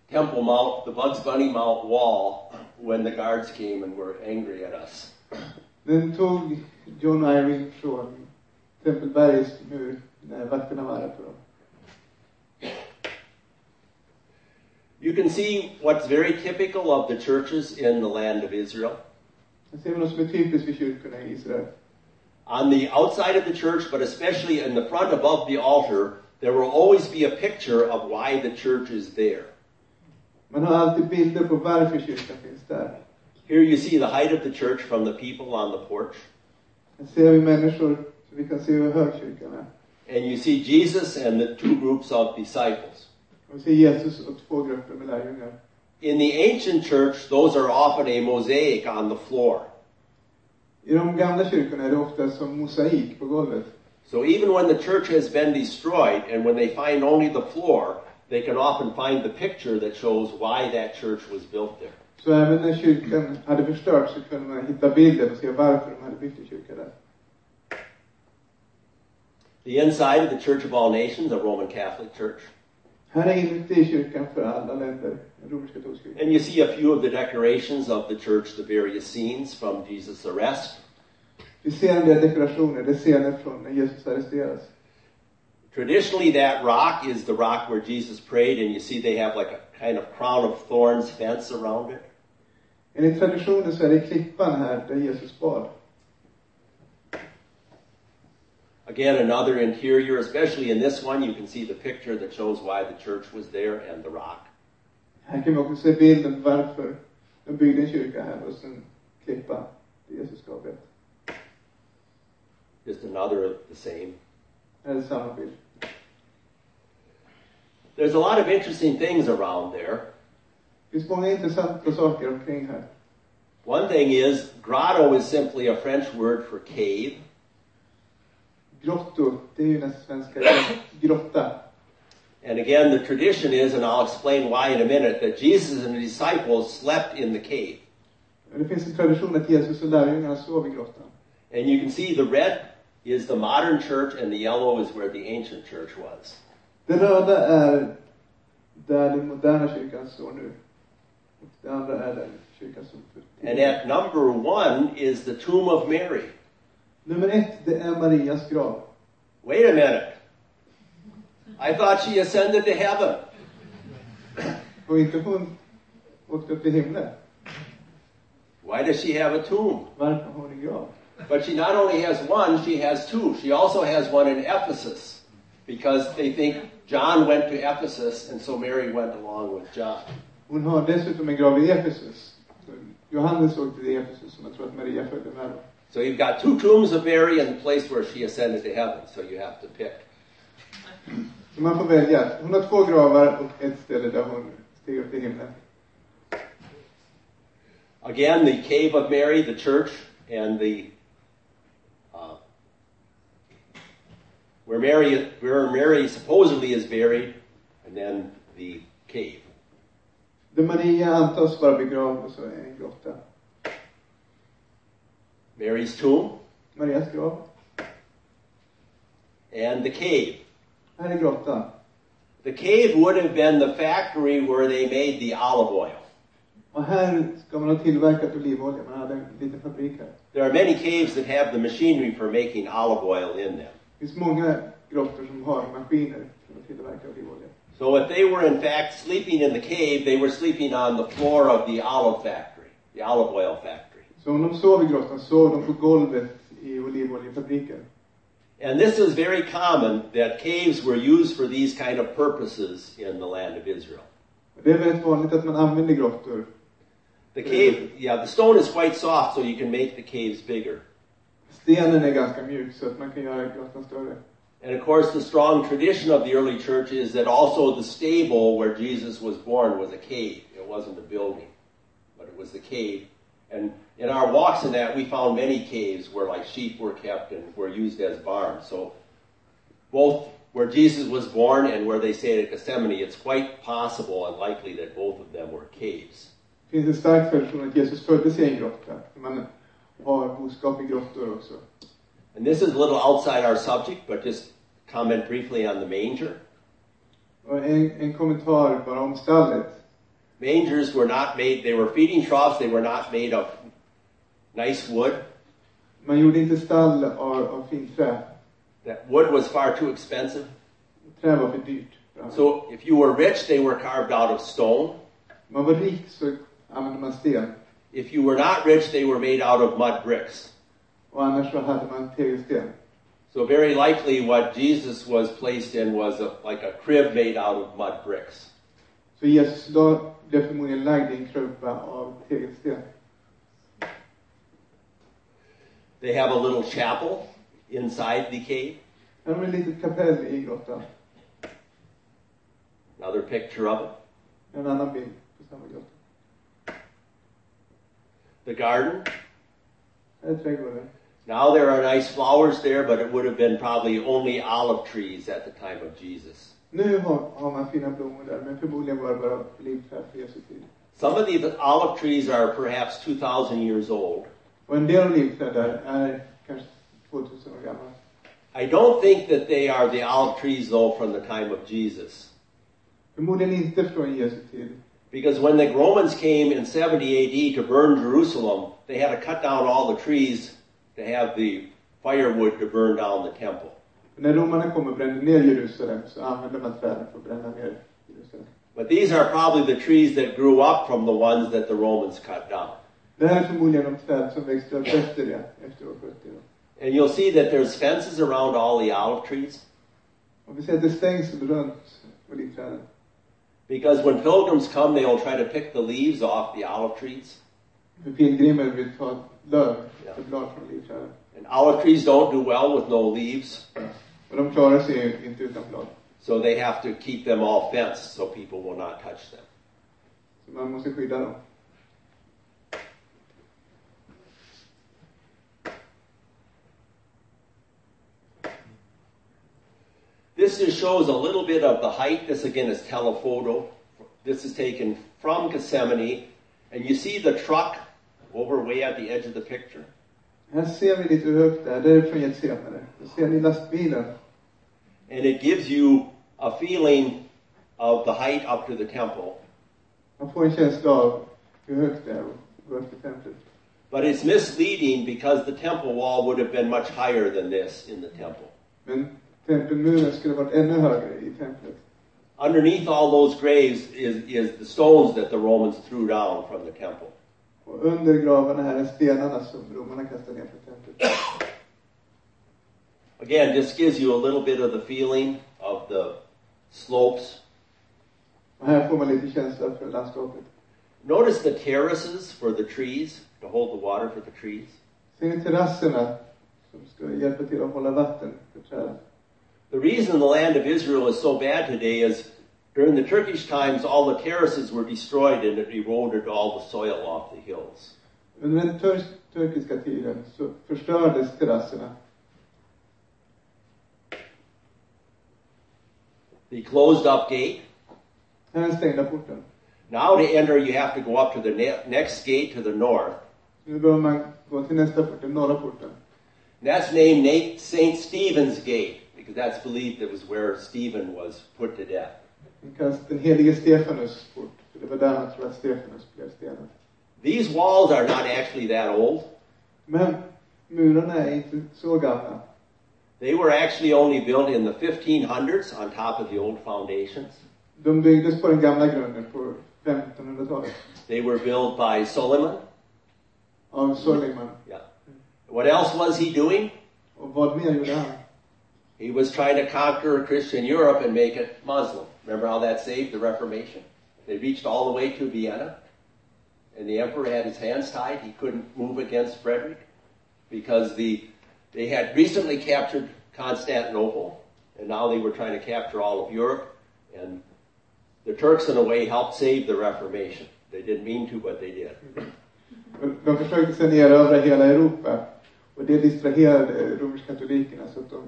Speaker 1: Temple Mount, the Bugs Bunny Mount wall when the guards came and were angry at us.
Speaker 2: Den tog John och Irene från Tempelbergs mur när vakterna var arga på dem.
Speaker 1: You can see what's very typical of the churches in the land of Israel.
Speaker 2: Här ser vi något som är typiskt för kyrkorna i Israel.
Speaker 1: On the outside of the church, but especially in the front above the altar, there will always be a picture of why the church is there.
Speaker 2: Man har alltid bilder på varför kyrkan finns där.
Speaker 1: Here you see the height of the church from the people on the porch,
Speaker 2: Här ser vi människor så vi kan se hur hög kyrkan är.
Speaker 1: and you see Jesus and the two groups of disciples.
Speaker 2: Och vi ser Jesus och två grupper med lärjungar.
Speaker 1: In the ancient church, those are often a mosaic on the floor.
Speaker 2: I de gamla kyrkorna är det ofta som mosaik på golvet.
Speaker 1: So even when the church has been destroyed and when they find only the floor, they can often find the picture that shows why that church was built there.
Speaker 2: Så även när kyrkan hade förstörts så kunde man hitta bilden och se varför de hade byggt en kyrka där.
Speaker 1: The inside of the Church of All Nations, a Roman Catholic church.
Speaker 2: Här är inuti kyrkan för alla länder, den romersk-katolska kyrkan.
Speaker 1: And you see a few of the decorations of the church, the various scenes from Jesus' arrest.
Speaker 2: Vi ser en del dekorationer, det är scener från när Jesus arresteras.
Speaker 1: Traditionally, that rock is the rock where Jesus prayed, and you see they have like a kind of crown of thorns fence around it.
Speaker 2: Enligt traditionen så är det klippan här där Jesus bad.
Speaker 1: Again, another interior, especially in this one, you can see the picture that shows why the church was there and the rock.
Speaker 2: Här kan vi också se bilden på varför de byggde en kyrka här och sen klippa där Jesus gav det.
Speaker 1: Just another of the same.
Speaker 2: Här är samma bild.
Speaker 1: There's a lot of interesting things around there.
Speaker 2: Det finns många intressanta saker omkring här.
Speaker 1: One thing is, grotto is simply a French word for cave.
Speaker 2: Grotto, det är ju nästan svenska (coughs) grotta.
Speaker 1: And again, the tradition is, and I'll explain why in a minute, that Jesus and the disciples slept in the cave.
Speaker 2: Men det finns en tradition att Jesus och lärjungarna sov i grottan.
Speaker 1: And you can see the red is the modern church and the yellow is where the ancient church was.
Speaker 2: Det röda är där den moderna kyrkan står nu. Och det andra är där kyrkan stod för.
Speaker 1: And at number one is the tomb of Mary.
Speaker 2: Nummer ett, det är Marias grav.
Speaker 1: Wait a minute. I thought she ascended to heaven.
Speaker 2: Och inte hon åkte upp till himlen.
Speaker 1: Why does she have a tomb?
Speaker 2: Varför har hon en grav?
Speaker 1: But she not only has one, she has two. She also has one in Ephesus because they think John went to Ephesus and so Mary went along with John.
Speaker 2: Hon har dessutom en grav i Efesus. Så Johannes åkte till Efesus som jag tror att Maria följde med. då.
Speaker 1: So you've got two tombs of Mary and the place where she ascended to heaven, so you have to pick.
Speaker 2: Så man får välja. Hon har två gravar och ett ställe där hon steg upp till himlen.
Speaker 1: Again, the cave of Mary, the church, and the uh, where Mary where Mary supposedly is buried, and then the cave.
Speaker 2: Där Maria antas vara begravd och så är en grotta.
Speaker 1: Mary's tomb
Speaker 2: Marias grav.
Speaker 1: and the cave.
Speaker 2: Här är grottan.
Speaker 1: The cave would have been the factory where they made the olive oil.
Speaker 2: Och här ska man ha tillverkat olivolja. Man hade en liten fabrik här.
Speaker 1: There are many caves that have the machinery for making olive oil in them.
Speaker 2: Det finns många grottor som har maskiner för att tillverka olivolja.
Speaker 1: So if they were in fact sleeping in the cave, they were sleeping on the floor of the olive factory, the olive oil factory.
Speaker 2: Så om de sov i grottan sov de på golvet i olivoljefabriken.
Speaker 1: And this is very common that caves were used for these kind of purposes in the land of Israel.
Speaker 2: Och Det är väldigt vanligt att man använder grottor.
Speaker 1: The cave, yeah, the stone is quite soft, so you can make the caves bigger.
Speaker 2: Stenen är ganska mjuk så att man kan göra grottan större.
Speaker 1: And of course, the strong tradition of the early church is that also the stable where Jesus was born was a cave. It wasn't a building, but it was the cave. And in our walks in that, we found many caves where like sheep were kept and were used as barns. So both where Jesus was born and where they stayed at Gethsemane, it's quite possible and likely that both of them were caves.
Speaker 2: Det finns en stark tradition att Jesus föddes i en grotta. Man har boskap i grottor också.
Speaker 1: And this is a little outside our subject, but just comment briefly on the manger.
Speaker 2: Och en, en kommentar bara om stallet.
Speaker 1: Mangers were not made, they were feeding troughs, they were not made of nice wood.
Speaker 2: Man gjorde inte stall av, av fint trä.
Speaker 1: That wood was far too expensive.
Speaker 2: Trä var för dyrt. för allt.
Speaker 1: So if you were rich, they were carved out of stone.
Speaker 2: Man var rik så använde man sten.
Speaker 1: If you were not rich, they were made out of mud bricks.
Speaker 2: Och annars så hade man tegelsten.
Speaker 1: So very likely what Jesus was placed in was a, like a crib made out of mud bricks.
Speaker 2: Så Jesus la, blev förmodligen lagd i en krubba av tegelsten.
Speaker 1: They have a little chapel inside the cave.
Speaker 2: Här har vi ett litet kapell i grottan.
Speaker 1: Another picture of it.
Speaker 2: En annan bild på samma grotta.
Speaker 1: The garden.
Speaker 2: Här är trädgården.
Speaker 1: Now there are nice flowers there, but it would have been probably only olive trees at the time of Jesus.
Speaker 2: Nu har, har man fina blommor där, men förmodligen var det bara olivträd på Jesu tid.
Speaker 1: Some of the olive trees are perhaps 2,000 years old.
Speaker 2: Och en del olivträd där är kanske 2000 år gamla.
Speaker 1: I don't think that they are the olive trees though from the time of Jesus.
Speaker 2: Förmodligen inte från Jesu tid.
Speaker 1: Because when the Romans came in 70 AD to burn Jerusalem, they had to cut down all the trees to have the firewood to burn down the temple.
Speaker 2: För när romarna kom och brände ner Jerusalem så använde man träden för att bränna ner Jerusalem.
Speaker 1: But these are probably the trees that grew up from the ones that the Romans cut down.
Speaker 2: Det här är förmodligen de träd som växte upp efter det, efter år 70. Då.
Speaker 1: And you'll see that there's fences around all the olive trees.
Speaker 2: Om vi säger att det stängs runt olivträden.
Speaker 1: Because when pilgrims come, they will try to pick the leaves off the olive trees.
Speaker 2: För pilgrimer vill ta löv,
Speaker 1: Ja.
Speaker 2: ett blad från olivträden.
Speaker 1: And olive trees don't do well with no leaves,
Speaker 2: Och de klarar sig ju inte utan blad.
Speaker 1: so they have to keep them all fenced so people will not touch them.
Speaker 2: Så man måste skydda dem.
Speaker 1: This just shows a little bit of the height. This again is telephoto. This is taken from Gethsemane. And you see the truck over way at the edge of the picture.
Speaker 2: Här ser vi lite hur högt det är. Det är från Getsemane. Då ser ni lastbilen.
Speaker 1: And it gives you a feeling of the height up to the temple.
Speaker 2: Man får en känsla av hur högt det är att gå upp till templet.
Speaker 1: But it's misleading because the temple wall would have been much higher than this in the temple.
Speaker 2: Men tempelmuren skulle varit ännu högre i templet.
Speaker 1: Underneath all those graves is, is the stones that the Romans threw down from the temple.
Speaker 2: Och under gravarna här är stenarna som romarna kastade ner från templet.
Speaker 1: Again, this gives you a little bit of the feeling of the slopes.
Speaker 2: Och här får man lite känsla för landskapet.
Speaker 1: Notice the terraces for the trees to hold the water for the trees.
Speaker 2: Ser ni terrasserna som ska hjälpa till att hålla vatten för träden?
Speaker 1: The reason the land of Israel is so bad today is during the Turkish times, all the terraces were destroyed and it eroded all the soil off the hills.
Speaker 2: Under den tur- turkiska tiden så förstördes terrasserna.
Speaker 1: The closed up gate.
Speaker 2: Här är den stängda porten.
Speaker 1: Now to enter, you have to go up to the ne- next gate to the north.
Speaker 2: Nu behöver man gå till nästa port, den norra porten.
Speaker 1: And that's named Nate St. Stephen's Gate because that's believed that was where Stephen was put to death.
Speaker 2: Den kallas den helige Stefanus port. För det var där man tror att Stefanus blev stenad.
Speaker 1: These walls are not actually that old.
Speaker 2: Men murarna är inte så gamla.
Speaker 1: They were actually only built in the 1500s on top of the old foundations.
Speaker 2: De byggdes på den gamla grunden på 1500-talet
Speaker 1: They were built by Solomon.
Speaker 2: av Soliman.
Speaker 1: Yeah. What else was he doing?
Speaker 2: Och vad mer gjorde han?
Speaker 1: He was trying to conquer Christian Europe and make it Muslim. Remember how that saved the Reformation? They reached all the way to Vienna, and the emperor had his hands tied. He couldn't move against Frederick because the, they had recently captured Constantinople, and now they were trying to capture all of Europe. And the Turks, in a way, helped save the Reformation. They didn't mean to, but they did.
Speaker 2: De försökte sedan erövra hela Europa. Och det distraherade romersk-katolikerna så att de,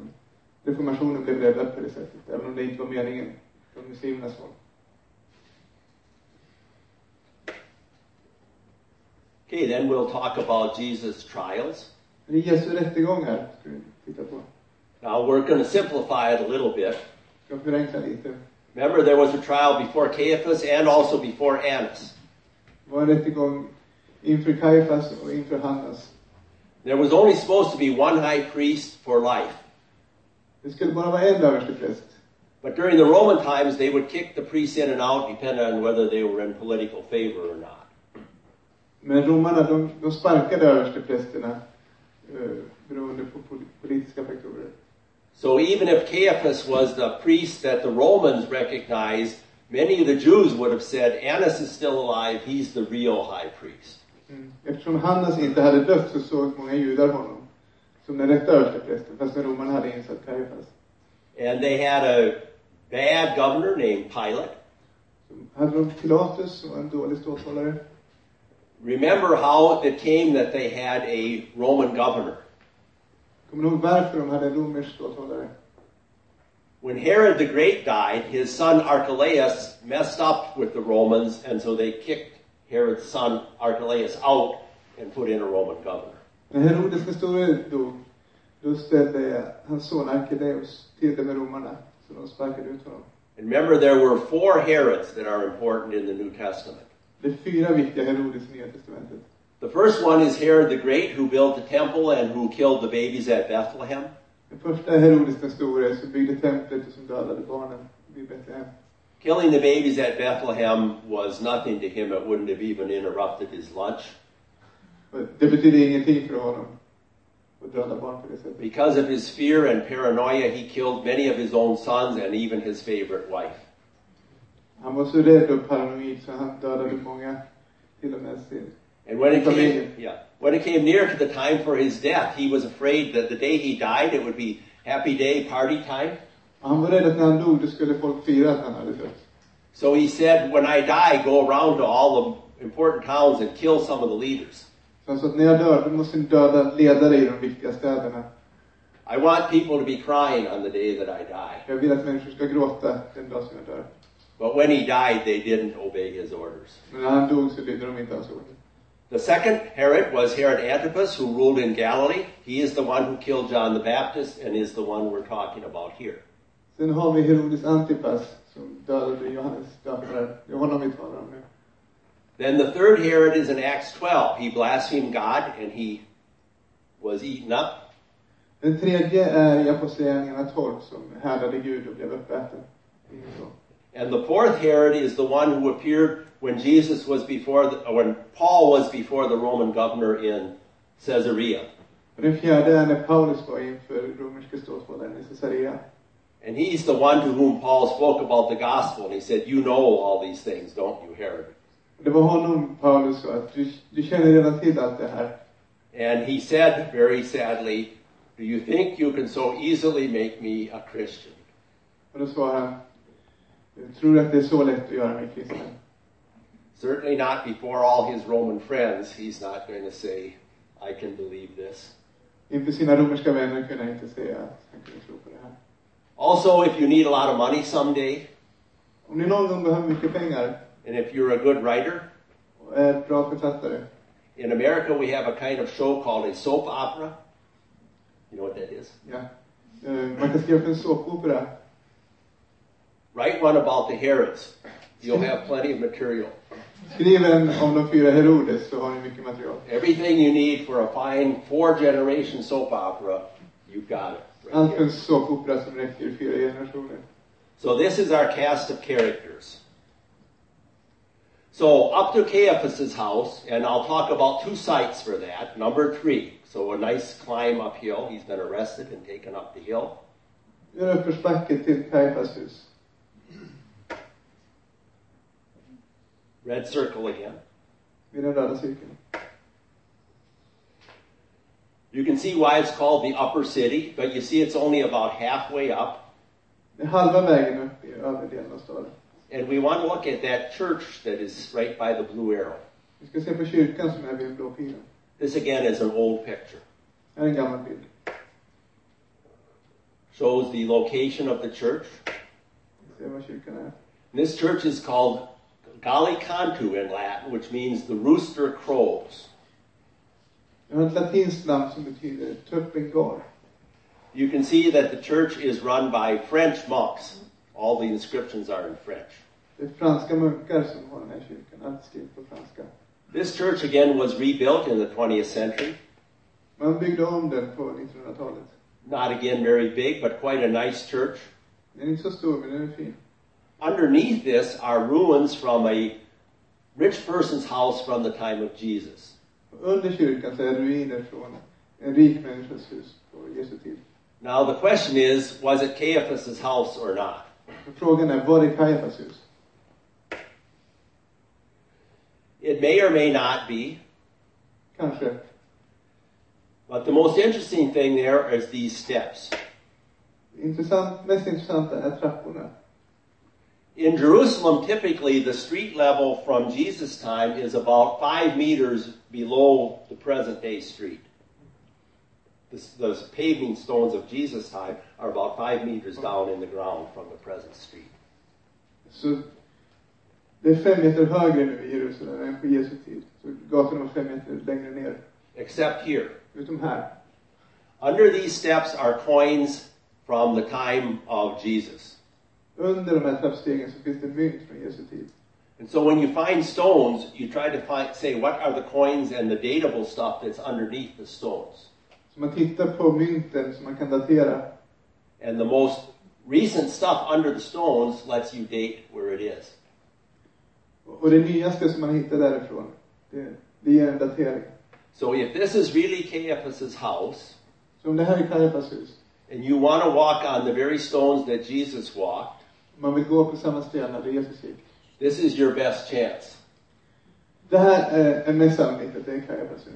Speaker 2: reformationen blev räddad på det sättet. Även om det inte var meningen från muslimernas håll.
Speaker 1: Okay, then we'll talk about Jesus' trials.
Speaker 2: Men det är Jesu rättegångar ska vi titta på.
Speaker 1: Now we're going to simplify it a little bit.
Speaker 2: Ska förenkla lite.
Speaker 1: Remember, there was a trial before Caiaphas and also before Annas.
Speaker 2: Det var en rättegång inför Kajfas och inför Hannas.
Speaker 1: There was only supposed to be one high priest for life.
Speaker 2: Det skulle bara vara en överstepräst.
Speaker 1: But during the Roman times, they would kick the priests in and out depending on whether they were in political favor or not.
Speaker 2: Men romarna, de, de sparkade översteprästerna eh, beroende på pol- politiska faktorer.
Speaker 1: So even if Caiaphas was the priest that the Romans recognized, many of the Jews would have said, Annas is still alive, he's the real high priest.
Speaker 2: Eftersom Hannas inte hade dött så såg många judar honom som den rätta översteprästen, fast romarna hade insatt Kajfas.
Speaker 1: And they had a bad governor named Pilate.
Speaker 2: Hade de Pilatus, som var en dålig ståthållare?
Speaker 1: Remember how it came that they had a Roman governor.
Speaker 2: Kommer ni ihåg varför de hade en romersk ståthållare?
Speaker 1: When Herod the Great died, his son Archelaus messed up with the Romans, and so they kicked Herod's son Archelaus out and put in a Roman governor.
Speaker 2: När Herodes den store dog, då ställde hans son Arkedeus till det med romarna, så de sparkade ut honom.
Speaker 1: And remember, there were four Herods that are important in the New Testament.
Speaker 2: Det är fyra viktiga Herodes i Nya Testamentet.
Speaker 1: The first one is Herod the Great, who built the temple and who killed the babies at Bethlehem.
Speaker 2: Den första är Herodes den store, som byggde templet och som dödade barnen vid Betlehem.
Speaker 1: Killing the babies at Bethlehem was nothing to him. It wouldn't have even interrupted his lunch.
Speaker 2: Och Det betyder ingenting för honom att döda barn på det sättet.
Speaker 1: Because of his fear and paranoia, he killed many of his own sons and even his favorite wife.
Speaker 2: Han var så rädd och paranoid så han dödade många, till och med sin.
Speaker 1: And when it
Speaker 2: It's
Speaker 1: came,
Speaker 2: amazing.
Speaker 1: yeah, when it came near to the time for his death, he was afraid that the day he died, it would be happy day, party time.
Speaker 2: Och han var rädd att när han dog, då skulle folk fira att han hade dött.
Speaker 1: So he said, when I die, go around to all the important towns and kill some of the leaders.
Speaker 2: Så han sa att när jag dör, då måste ni döda ledare i de viktiga städerna.
Speaker 1: I want people to be crying on the day that I die.
Speaker 2: Jag vill att människor ska gråta den dag som jag dör.
Speaker 1: But when he died, they didn't obey his orders.
Speaker 2: Men när han dog så lydde de inte hans ord.
Speaker 1: The second Herod was Herod Antipas, who ruled in Galilee. He is the one who killed John the Baptist and is the one we're talking about here.
Speaker 2: Sen har vi Herodes Antipas som dödade Johannes döparen. Det är honom vi talar om nu.
Speaker 1: Then the third Herod is in Acts 12. He blasphemed God and he was eaten up.
Speaker 2: Den tredje är i Apostlagärningarna 12 som härdade Gud och blev uppäten. Det är så.
Speaker 1: And the fourth Herod is the one who appeared when Jesus was before, the, uh, when Paul was before the Roman governor in Caesarea.
Speaker 2: Och den fjärde är när Paulus var inför romerske ståthållaren i Caesarea.
Speaker 1: And he's the one to whom Paul spoke about the gospel and he said, you know all these things, don't you, Herod?
Speaker 2: Och Det var honom Paulus sa att du, du känner redan till allt det här.
Speaker 1: And he said very sadly, Do you think you can so easily make me a Christian?
Speaker 2: Och då svarade han, jag tror att det är så lätt att göra mig kristen.
Speaker 1: Certainly not before all his Roman friends. He's not going to say, I can believe this.
Speaker 2: Inför sina romerska vänner kunde han inte säga att han kunde tro på det här.
Speaker 1: Also, if you need a lot of money someday,
Speaker 2: Om ni någon gång behöver mycket pengar
Speaker 1: and if you're a good writer,
Speaker 2: och är bra författare.
Speaker 1: in America we have a kind of show called a soap opera. You know what that is?
Speaker 2: Ja. Eh, Man kan skriva upp en såpopera.
Speaker 1: Write one about the Herods. You'll have plenty of material.
Speaker 2: Skriv en om de fyra Herodes så har ni mycket material.
Speaker 1: Everything you need for a fine four-generation soap opera, you've got it. right
Speaker 2: Allt
Speaker 1: here.
Speaker 2: för en såpopera som räcker i fyra generationer.
Speaker 1: So this is our cast of characters. So up to Caiaphas's house, and I'll talk about two sites for that. Number three, so a nice climb uphill. He's been arrested and taken up the hill.
Speaker 2: Gör uppförsbacke till Kajfas hus.
Speaker 1: Red circle again.
Speaker 2: Vid den röda cirkeln.
Speaker 1: You can see why it's called the upper city, but you see it's only about halfway up.
Speaker 2: Det är halva vägen upp i övre delen av staden.
Speaker 1: And we want to look at that church that is right by the blue arrow.
Speaker 2: Vi ska se på kyrkan som är vid den blå pilen.
Speaker 1: This again is an old picture.
Speaker 2: Här är en gammal bild.
Speaker 1: Shows the location of the church.
Speaker 2: Vi ser vad kyrkan är.
Speaker 1: This church is called Gallicantu in Latin, which means the rooster crows.
Speaker 2: Den har ett latinskt namn som betyder tuppen gar.
Speaker 1: You can see that the church is run by French monks, all the inscriptions are in French.
Speaker 2: Det är franska munkar som har den här kyrkan. Allt skrivet på franska.
Speaker 1: This church again was rebuilt in the 20th century.
Speaker 2: Man byggde om den på 1900-talet.
Speaker 1: Not again very big, but quite a nice church.
Speaker 2: Den är inte så stor, men den är fin.
Speaker 1: Underneath this are ruins from a rich person's house from the time of Jesus.
Speaker 2: Under kyrkan så är ruiner från en rik människas hus på Jesu tid.
Speaker 1: Now the question is, was it Caiaphas's house or not?
Speaker 2: Men Frågan är, var är Kajafas hus?
Speaker 1: It may or may not be,
Speaker 2: Kanske.
Speaker 1: but the most interesting thing there is these steps.
Speaker 2: Intressant, mest intressanta är trapporna.
Speaker 1: In Jerusalem, typically the street level from Jesus' time is about five meters below the present day street. This, those paving stones of Jesus' time are about five meters down in the ground from the present street.
Speaker 2: Så det är fem meter högre nu i Jerusalem än på Jesu tid. Så gatorna var fem meter längre ner.
Speaker 1: Except here.
Speaker 2: Utom här.
Speaker 1: Under these steps are coins from the time of Jesus.
Speaker 2: Under de här trappstegen så finns det mynt från Jesu tid.
Speaker 1: And so when you find stones, you try to find, say, what are the coins and the datable stuff that's underneath the stones?
Speaker 2: Så man tittar på mynten som man kan datera.
Speaker 1: And the most recent stuff under the stones lets you date where it is.
Speaker 2: Och det nyaste som man hittar därifrån, det, det ger en datering.
Speaker 1: So if this is really Caiaphas's house,
Speaker 2: Så om det här är Kajafas hus,
Speaker 1: and you want to walk on the very stones that Jesus walked,
Speaker 2: om man vill gå på samma stenar där Jesus gick.
Speaker 1: this is your best chance.
Speaker 2: Det här är, är mest sannolikt att det är Kajafas hus.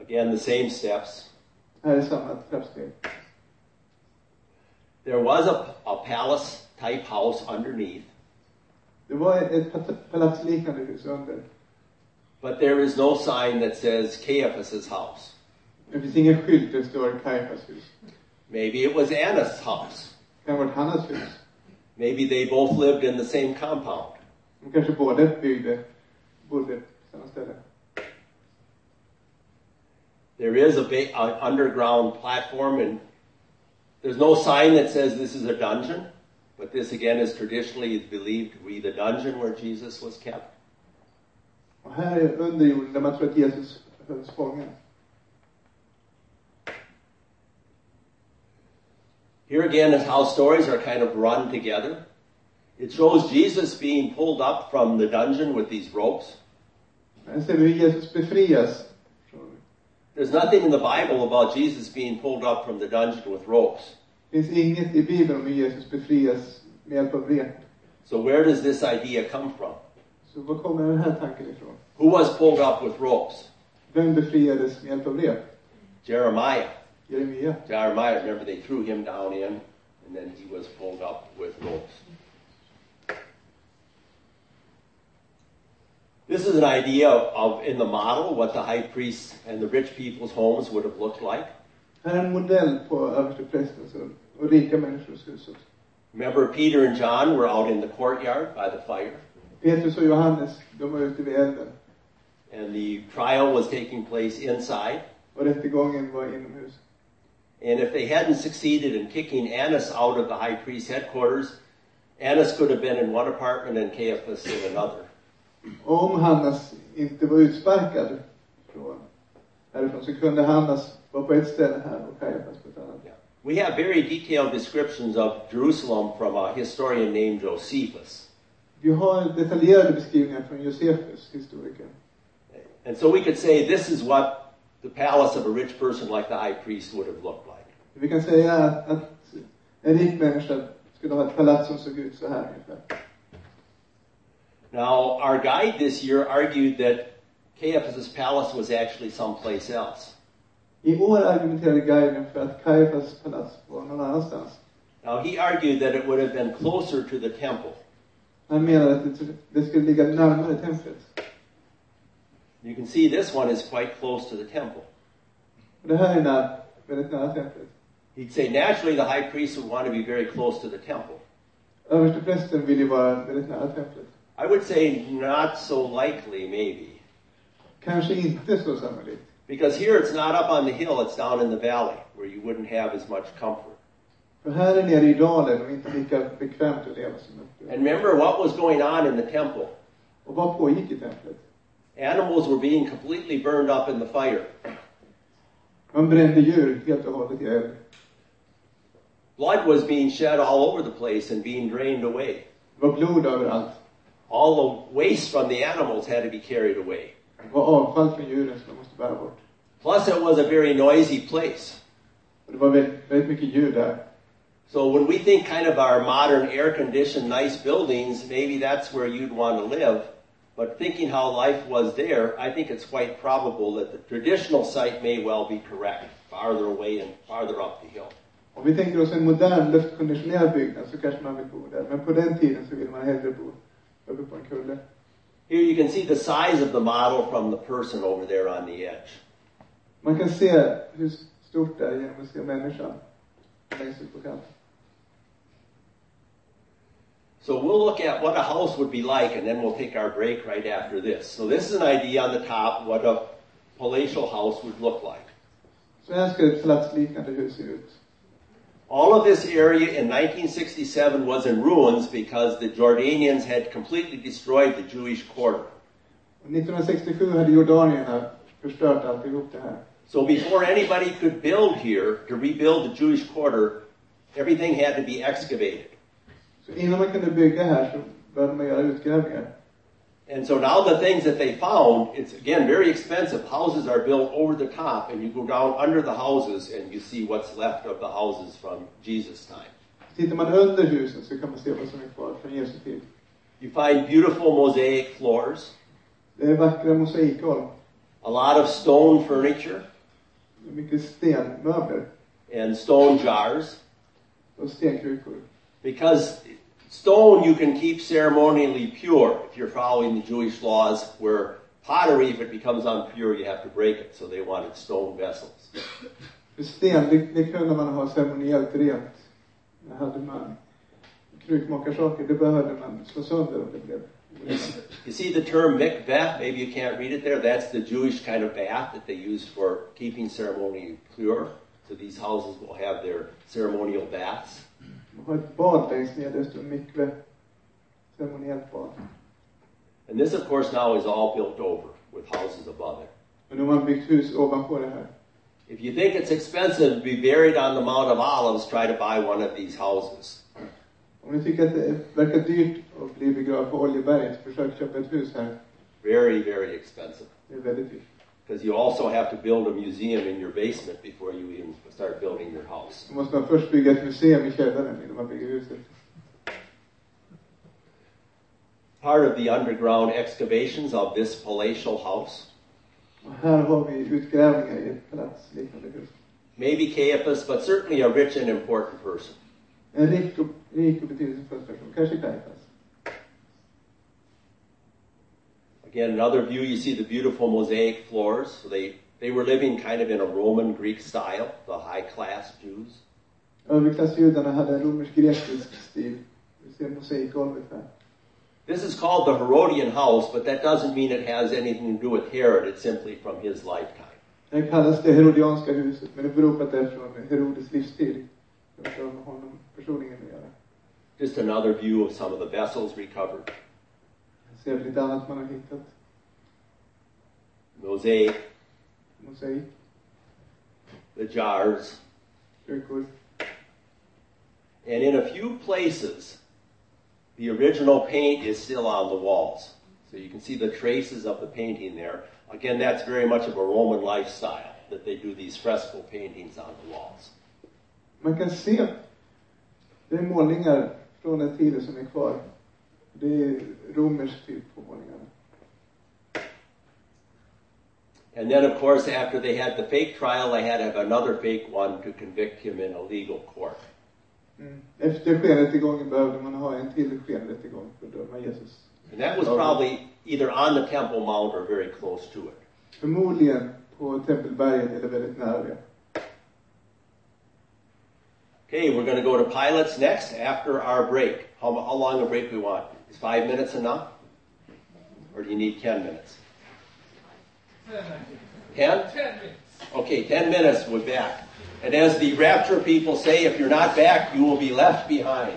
Speaker 1: Again, the same steps.
Speaker 2: Här är samma trappsteg.
Speaker 1: There was a, a palace type house underneath,
Speaker 2: Det var ett pat- palatsliknande hus under.
Speaker 1: but there is no sign that says Caiaphas's house.
Speaker 2: Det finns ingen skylt där det står Kajafas hus.
Speaker 1: Maybe it was Annas house.
Speaker 2: Det kan ha varit Hannas hus.
Speaker 1: Maybe they both lived in the same compound.
Speaker 2: De kanske båda byggde, bodde på samma ställe.
Speaker 1: There is a, ba- an underground platform, and there's no sign that says this is a dungeon, but this again is traditionally believed to be the dungeon where Jesus was kept.
Speaker 2: Och här är under jorden där man tror att Jesus hölls fången.
Speaker 1: Here again is how stories are kind of run together. It shows Jesus being pulled up from the dungeon with these ropes.
Speaker 2: Här ser vi hur Jesus befrias. från-
Speaker 1: There's nothing in the Bible about Jesus being pulled up from the dungeon with ropes.
Speaker 2: Det finns inget i Bibeln om hur Jesus befrias med hjälp av rep.
Speaker 1: So where does this idea come from?
Speaker 2: Så var kommer den här tanken ifrån?
Speaker 1: Who was pulled up with ropes?
Speaker 2: Vem befriades med hjälp av rep?
Speaker 1: Jeremiah.
Speaker 2: Jeremia.
Speaker 1: Jeremiah, remember they threw him down in, and then he was pulled up with ropes. This is an idea of, in the model, what the high priest and the rich people's homes would have looked like.
Speaker 2: Här är en modell på översteprästens och- och rika människors hus också.
Speaker 1: Remember, Peter and John were out in the courtyard by the fire,
Speaker 2: Petrus och Johannes, de var ute vid elden.
Speaker 1: and the trial was taking place inside.
Speaker 2: Och rättegången var inomhus.
Speaker 1: And if they hadn't succeeded in kicking Annas out of the high priest's headquarters, Annas could have been in one apartment and Caiaphas in another.
Speaker 2: Och om Hannas inte var utsparkad från härifrån så kunde Hannas vara på ett ställe här och Kajafas på ett annat.
Speaker 1: Yeah. We have very detailed descriptions of Jerusalem from a historian named Josephus.
Speaker 2: Vi har detaljerade beskrivningar från Josefus, historiker.
Speaker 1: And so we could say this is what the palace of a rich person like the high priest would have looked like.
Speaker 2: Vi kan säga att, att en rik människa skulle ha ett palats som såg ut så här ungefär.
Speaker 1: Now, our guide this year argued that Caiaphas's palace was actually someplace else.
Speaker 2: I år argumenterade guiden för att Kajafas palats var någon annanstans.
Speaker 1: Now, he argued that it would have been closer to the temple.
Speaker 2: Han menade att det, det skulle ligga närmare templet.
Speaker 1: You can see this one is quite close to the temple.
Speaker 2: Och det här är när, väldigt nära templet.
Speaker 1: He'd say naturally the high priest would want to be very close to the temple.
Speaker 2: Översteprästen vill ju vara väldigt nära templet.
Speaker 1: I would say not so likely, maybe.
Speaker 2: Kanske inte så sannolikt.
Speaker 1: Because here it's not up on the hill, it's down in the valley where you wouldn't have as much comfort.
Speaker 2: För här är nere i dalen och inte lika bekvämt att leva som uppe.
Speaker 1: And remember what was going on in the temple.
Speaker 2: Och vad pågick i templet?
Speaker 1: Animals were being completely burned up in the fire.
Speaker 2: Man brände djur helt och hållet i eld.
Speaker 1: Blood was being shed all over the place and being drained away.
Speaker 2: Det var blod överallt.
Speaker 1: All the waste from the animals had to be carried away.
Speaker 2: Det var avfall från djuren som de måste bära bort.
Speaker 1: Plus, it was a very noisy place.
Speaker 2: Och det var väldigt, väldigt mycket djur där.
Speaker 1: So when we think kind of our modern air-conditioned, nice buildings, maybe that's where you'd want to live. But thinking how life was there, I think it's quite probable that the traditional site may well be correct, farther away and farther up the hill.
Speaker 2: Om vi tänker oss en modern luftkonditionerad byggnad så kanske man vill bo där. Men på den tiden så ville man hellre bo uppe på en kulle.
Speaker 1: Here you can see the size of the model from the person over there on the edge.
Speaker 2: Man kan se hur stort det är genom att se människan längst ut på kanten.
Speaker 1: So we'll look at what a house would be like and then we'll take our break right after this. So this is an idea on the top what a palatial house would look like.
Speaker 2: Så här ska ett palatsliknande hus se ut.
Speaker 1: All of this area in 1967 was in ruins because the Jordanians had completely destroyed the Jewish quarter.
Speaker 2: Och 1967 hade jordanierna förstört alltihop det här.
Speaker 1: So before anybody could build here to rebuild the Jewish quarter, everything had to be excavated.
Speaker 2: Så innan man kunde bygga här så började man göra utgrävningar.
Speaker 1: And so now the things that they found, it's again very expensive. Houses are built over the top and you go down under the houses and you see what's left of the houses from Jesus' time.
Speaker 2: Tittar man under husen så kan man se vad som är kvar från Jesu tid.
Speaker 1: You find beautiful mosaic floors,
Speaker 2: Det är vackra mosaikgolv.
Speaker 1: a lot of stone furniture
Speaker 2: Det är mycket stenmöbler
Speaker 1: and stone jars.
Speaker 2: och stenkrukor.
Speaker 1: Because stone you can keep ceremonially pure if you're following the Jewish laws, where pottery, if it becomes impure, you have to break it. So they wanted stone vessels.
Speaker 2: För sten, det, det kunde man ha ceremoniellt rent. Det hade man krukmakarsaker, det behövde man slå sönder om det blev.
Speaker 1: You s- you see the term mikveh, maybe you can't read it there. That's the Jewish kind of bath that they used for keeping ceremony pure. So these houses will have their ceremonial baths.
Speaker 2: Man har ett bad längst ner, där står mikve. Ceremoniellt bad.
Speaker 1: And this, of course, now is all built over with houses above it.
Speaker 2: Men nu har man byggt hus ovanpå det här.
Speaker 1: If you think it's expensive to be buried on the Mount of Olives, try to buy one of these houses.
Speaker 2: Om ni tycker att det verkar dyrt att bli begravd på Oljeberget, försök köpa ett hus här.
Speaker 1: Very, very expensive.
Speaker 2: Det är väldigt dyrt.
Speaker 1: Because you also have to build a museum in your basement before you even start building your house.
Speaker 2: Då måste man först bygga ett museum i källaren innan man bygger huset.
Speaker 1: Part of the underground excavations of this palatial house,
Speaker 2: Och här har vi utgrävningar i ett palatsliknande hus.
Speaker 1: maybe Caiaphas, but certainly a rich and important person.
Speaker 2: En rik och, rik och betydelsefull person, kanske Kajfas.
Speaker 1: Again, another view, you see the beautiful mosaic floors. So they, they were living kind of in a Roman Greek style, the high class Jews.
Speaker 2: Överklassjudarna hade en romersk-grekisk stil. Vi ser mosaikgolvet här.
Speaker 1: This is called the Herodian house, but that doesn't mean it has anything to do with Herod. It's simply from his lifetime.
Speaker 2: Det kallas det Herodianska huset, men det beror på att det är från Herodes livstid. Det har inte med honom personligen att göra.
Speaker 1: Just another view of some of the vessels recovered.
Speaker 2: Här ser vi lite annat man har hittat.
Speaker 1: mosaic,
Speaker 2: Mosaik,
Speaker 1: the jars,
Speaker 2: kyrkor.
Speaker 1: and in a few places, the original paint is still on the walls. So you can see the traces of the painting there. Again, that's very much of a Roman lifestyle that they do these fresco paintings on the walls.
Speaker 2: Man kan se, det är målningar från den tiden som är kvar. Det är romersk typ på målningarna.
Speaker 1: And then, of course, after they had the fake trial, they had to have another fake one to convict him in a legal court.
Speaker 2: Mm. Efter skenrättegången behövde man ha en till skenrättegång för att döma Jesus.
Speaker 1: And that was probably either on the Temple Mount or very close to it.
Speaker 2: Förmodligen på Tempelberget eller väldigt nära det.
Speaker 1: Okay, we're going to go to pilots next after our break. How, how long a break we want? Is five minutes enough? Or do you need ten minutes? Ten? Okay, ten minutes, we're back. And as the rapture people say, if you're not back, you will be left behind.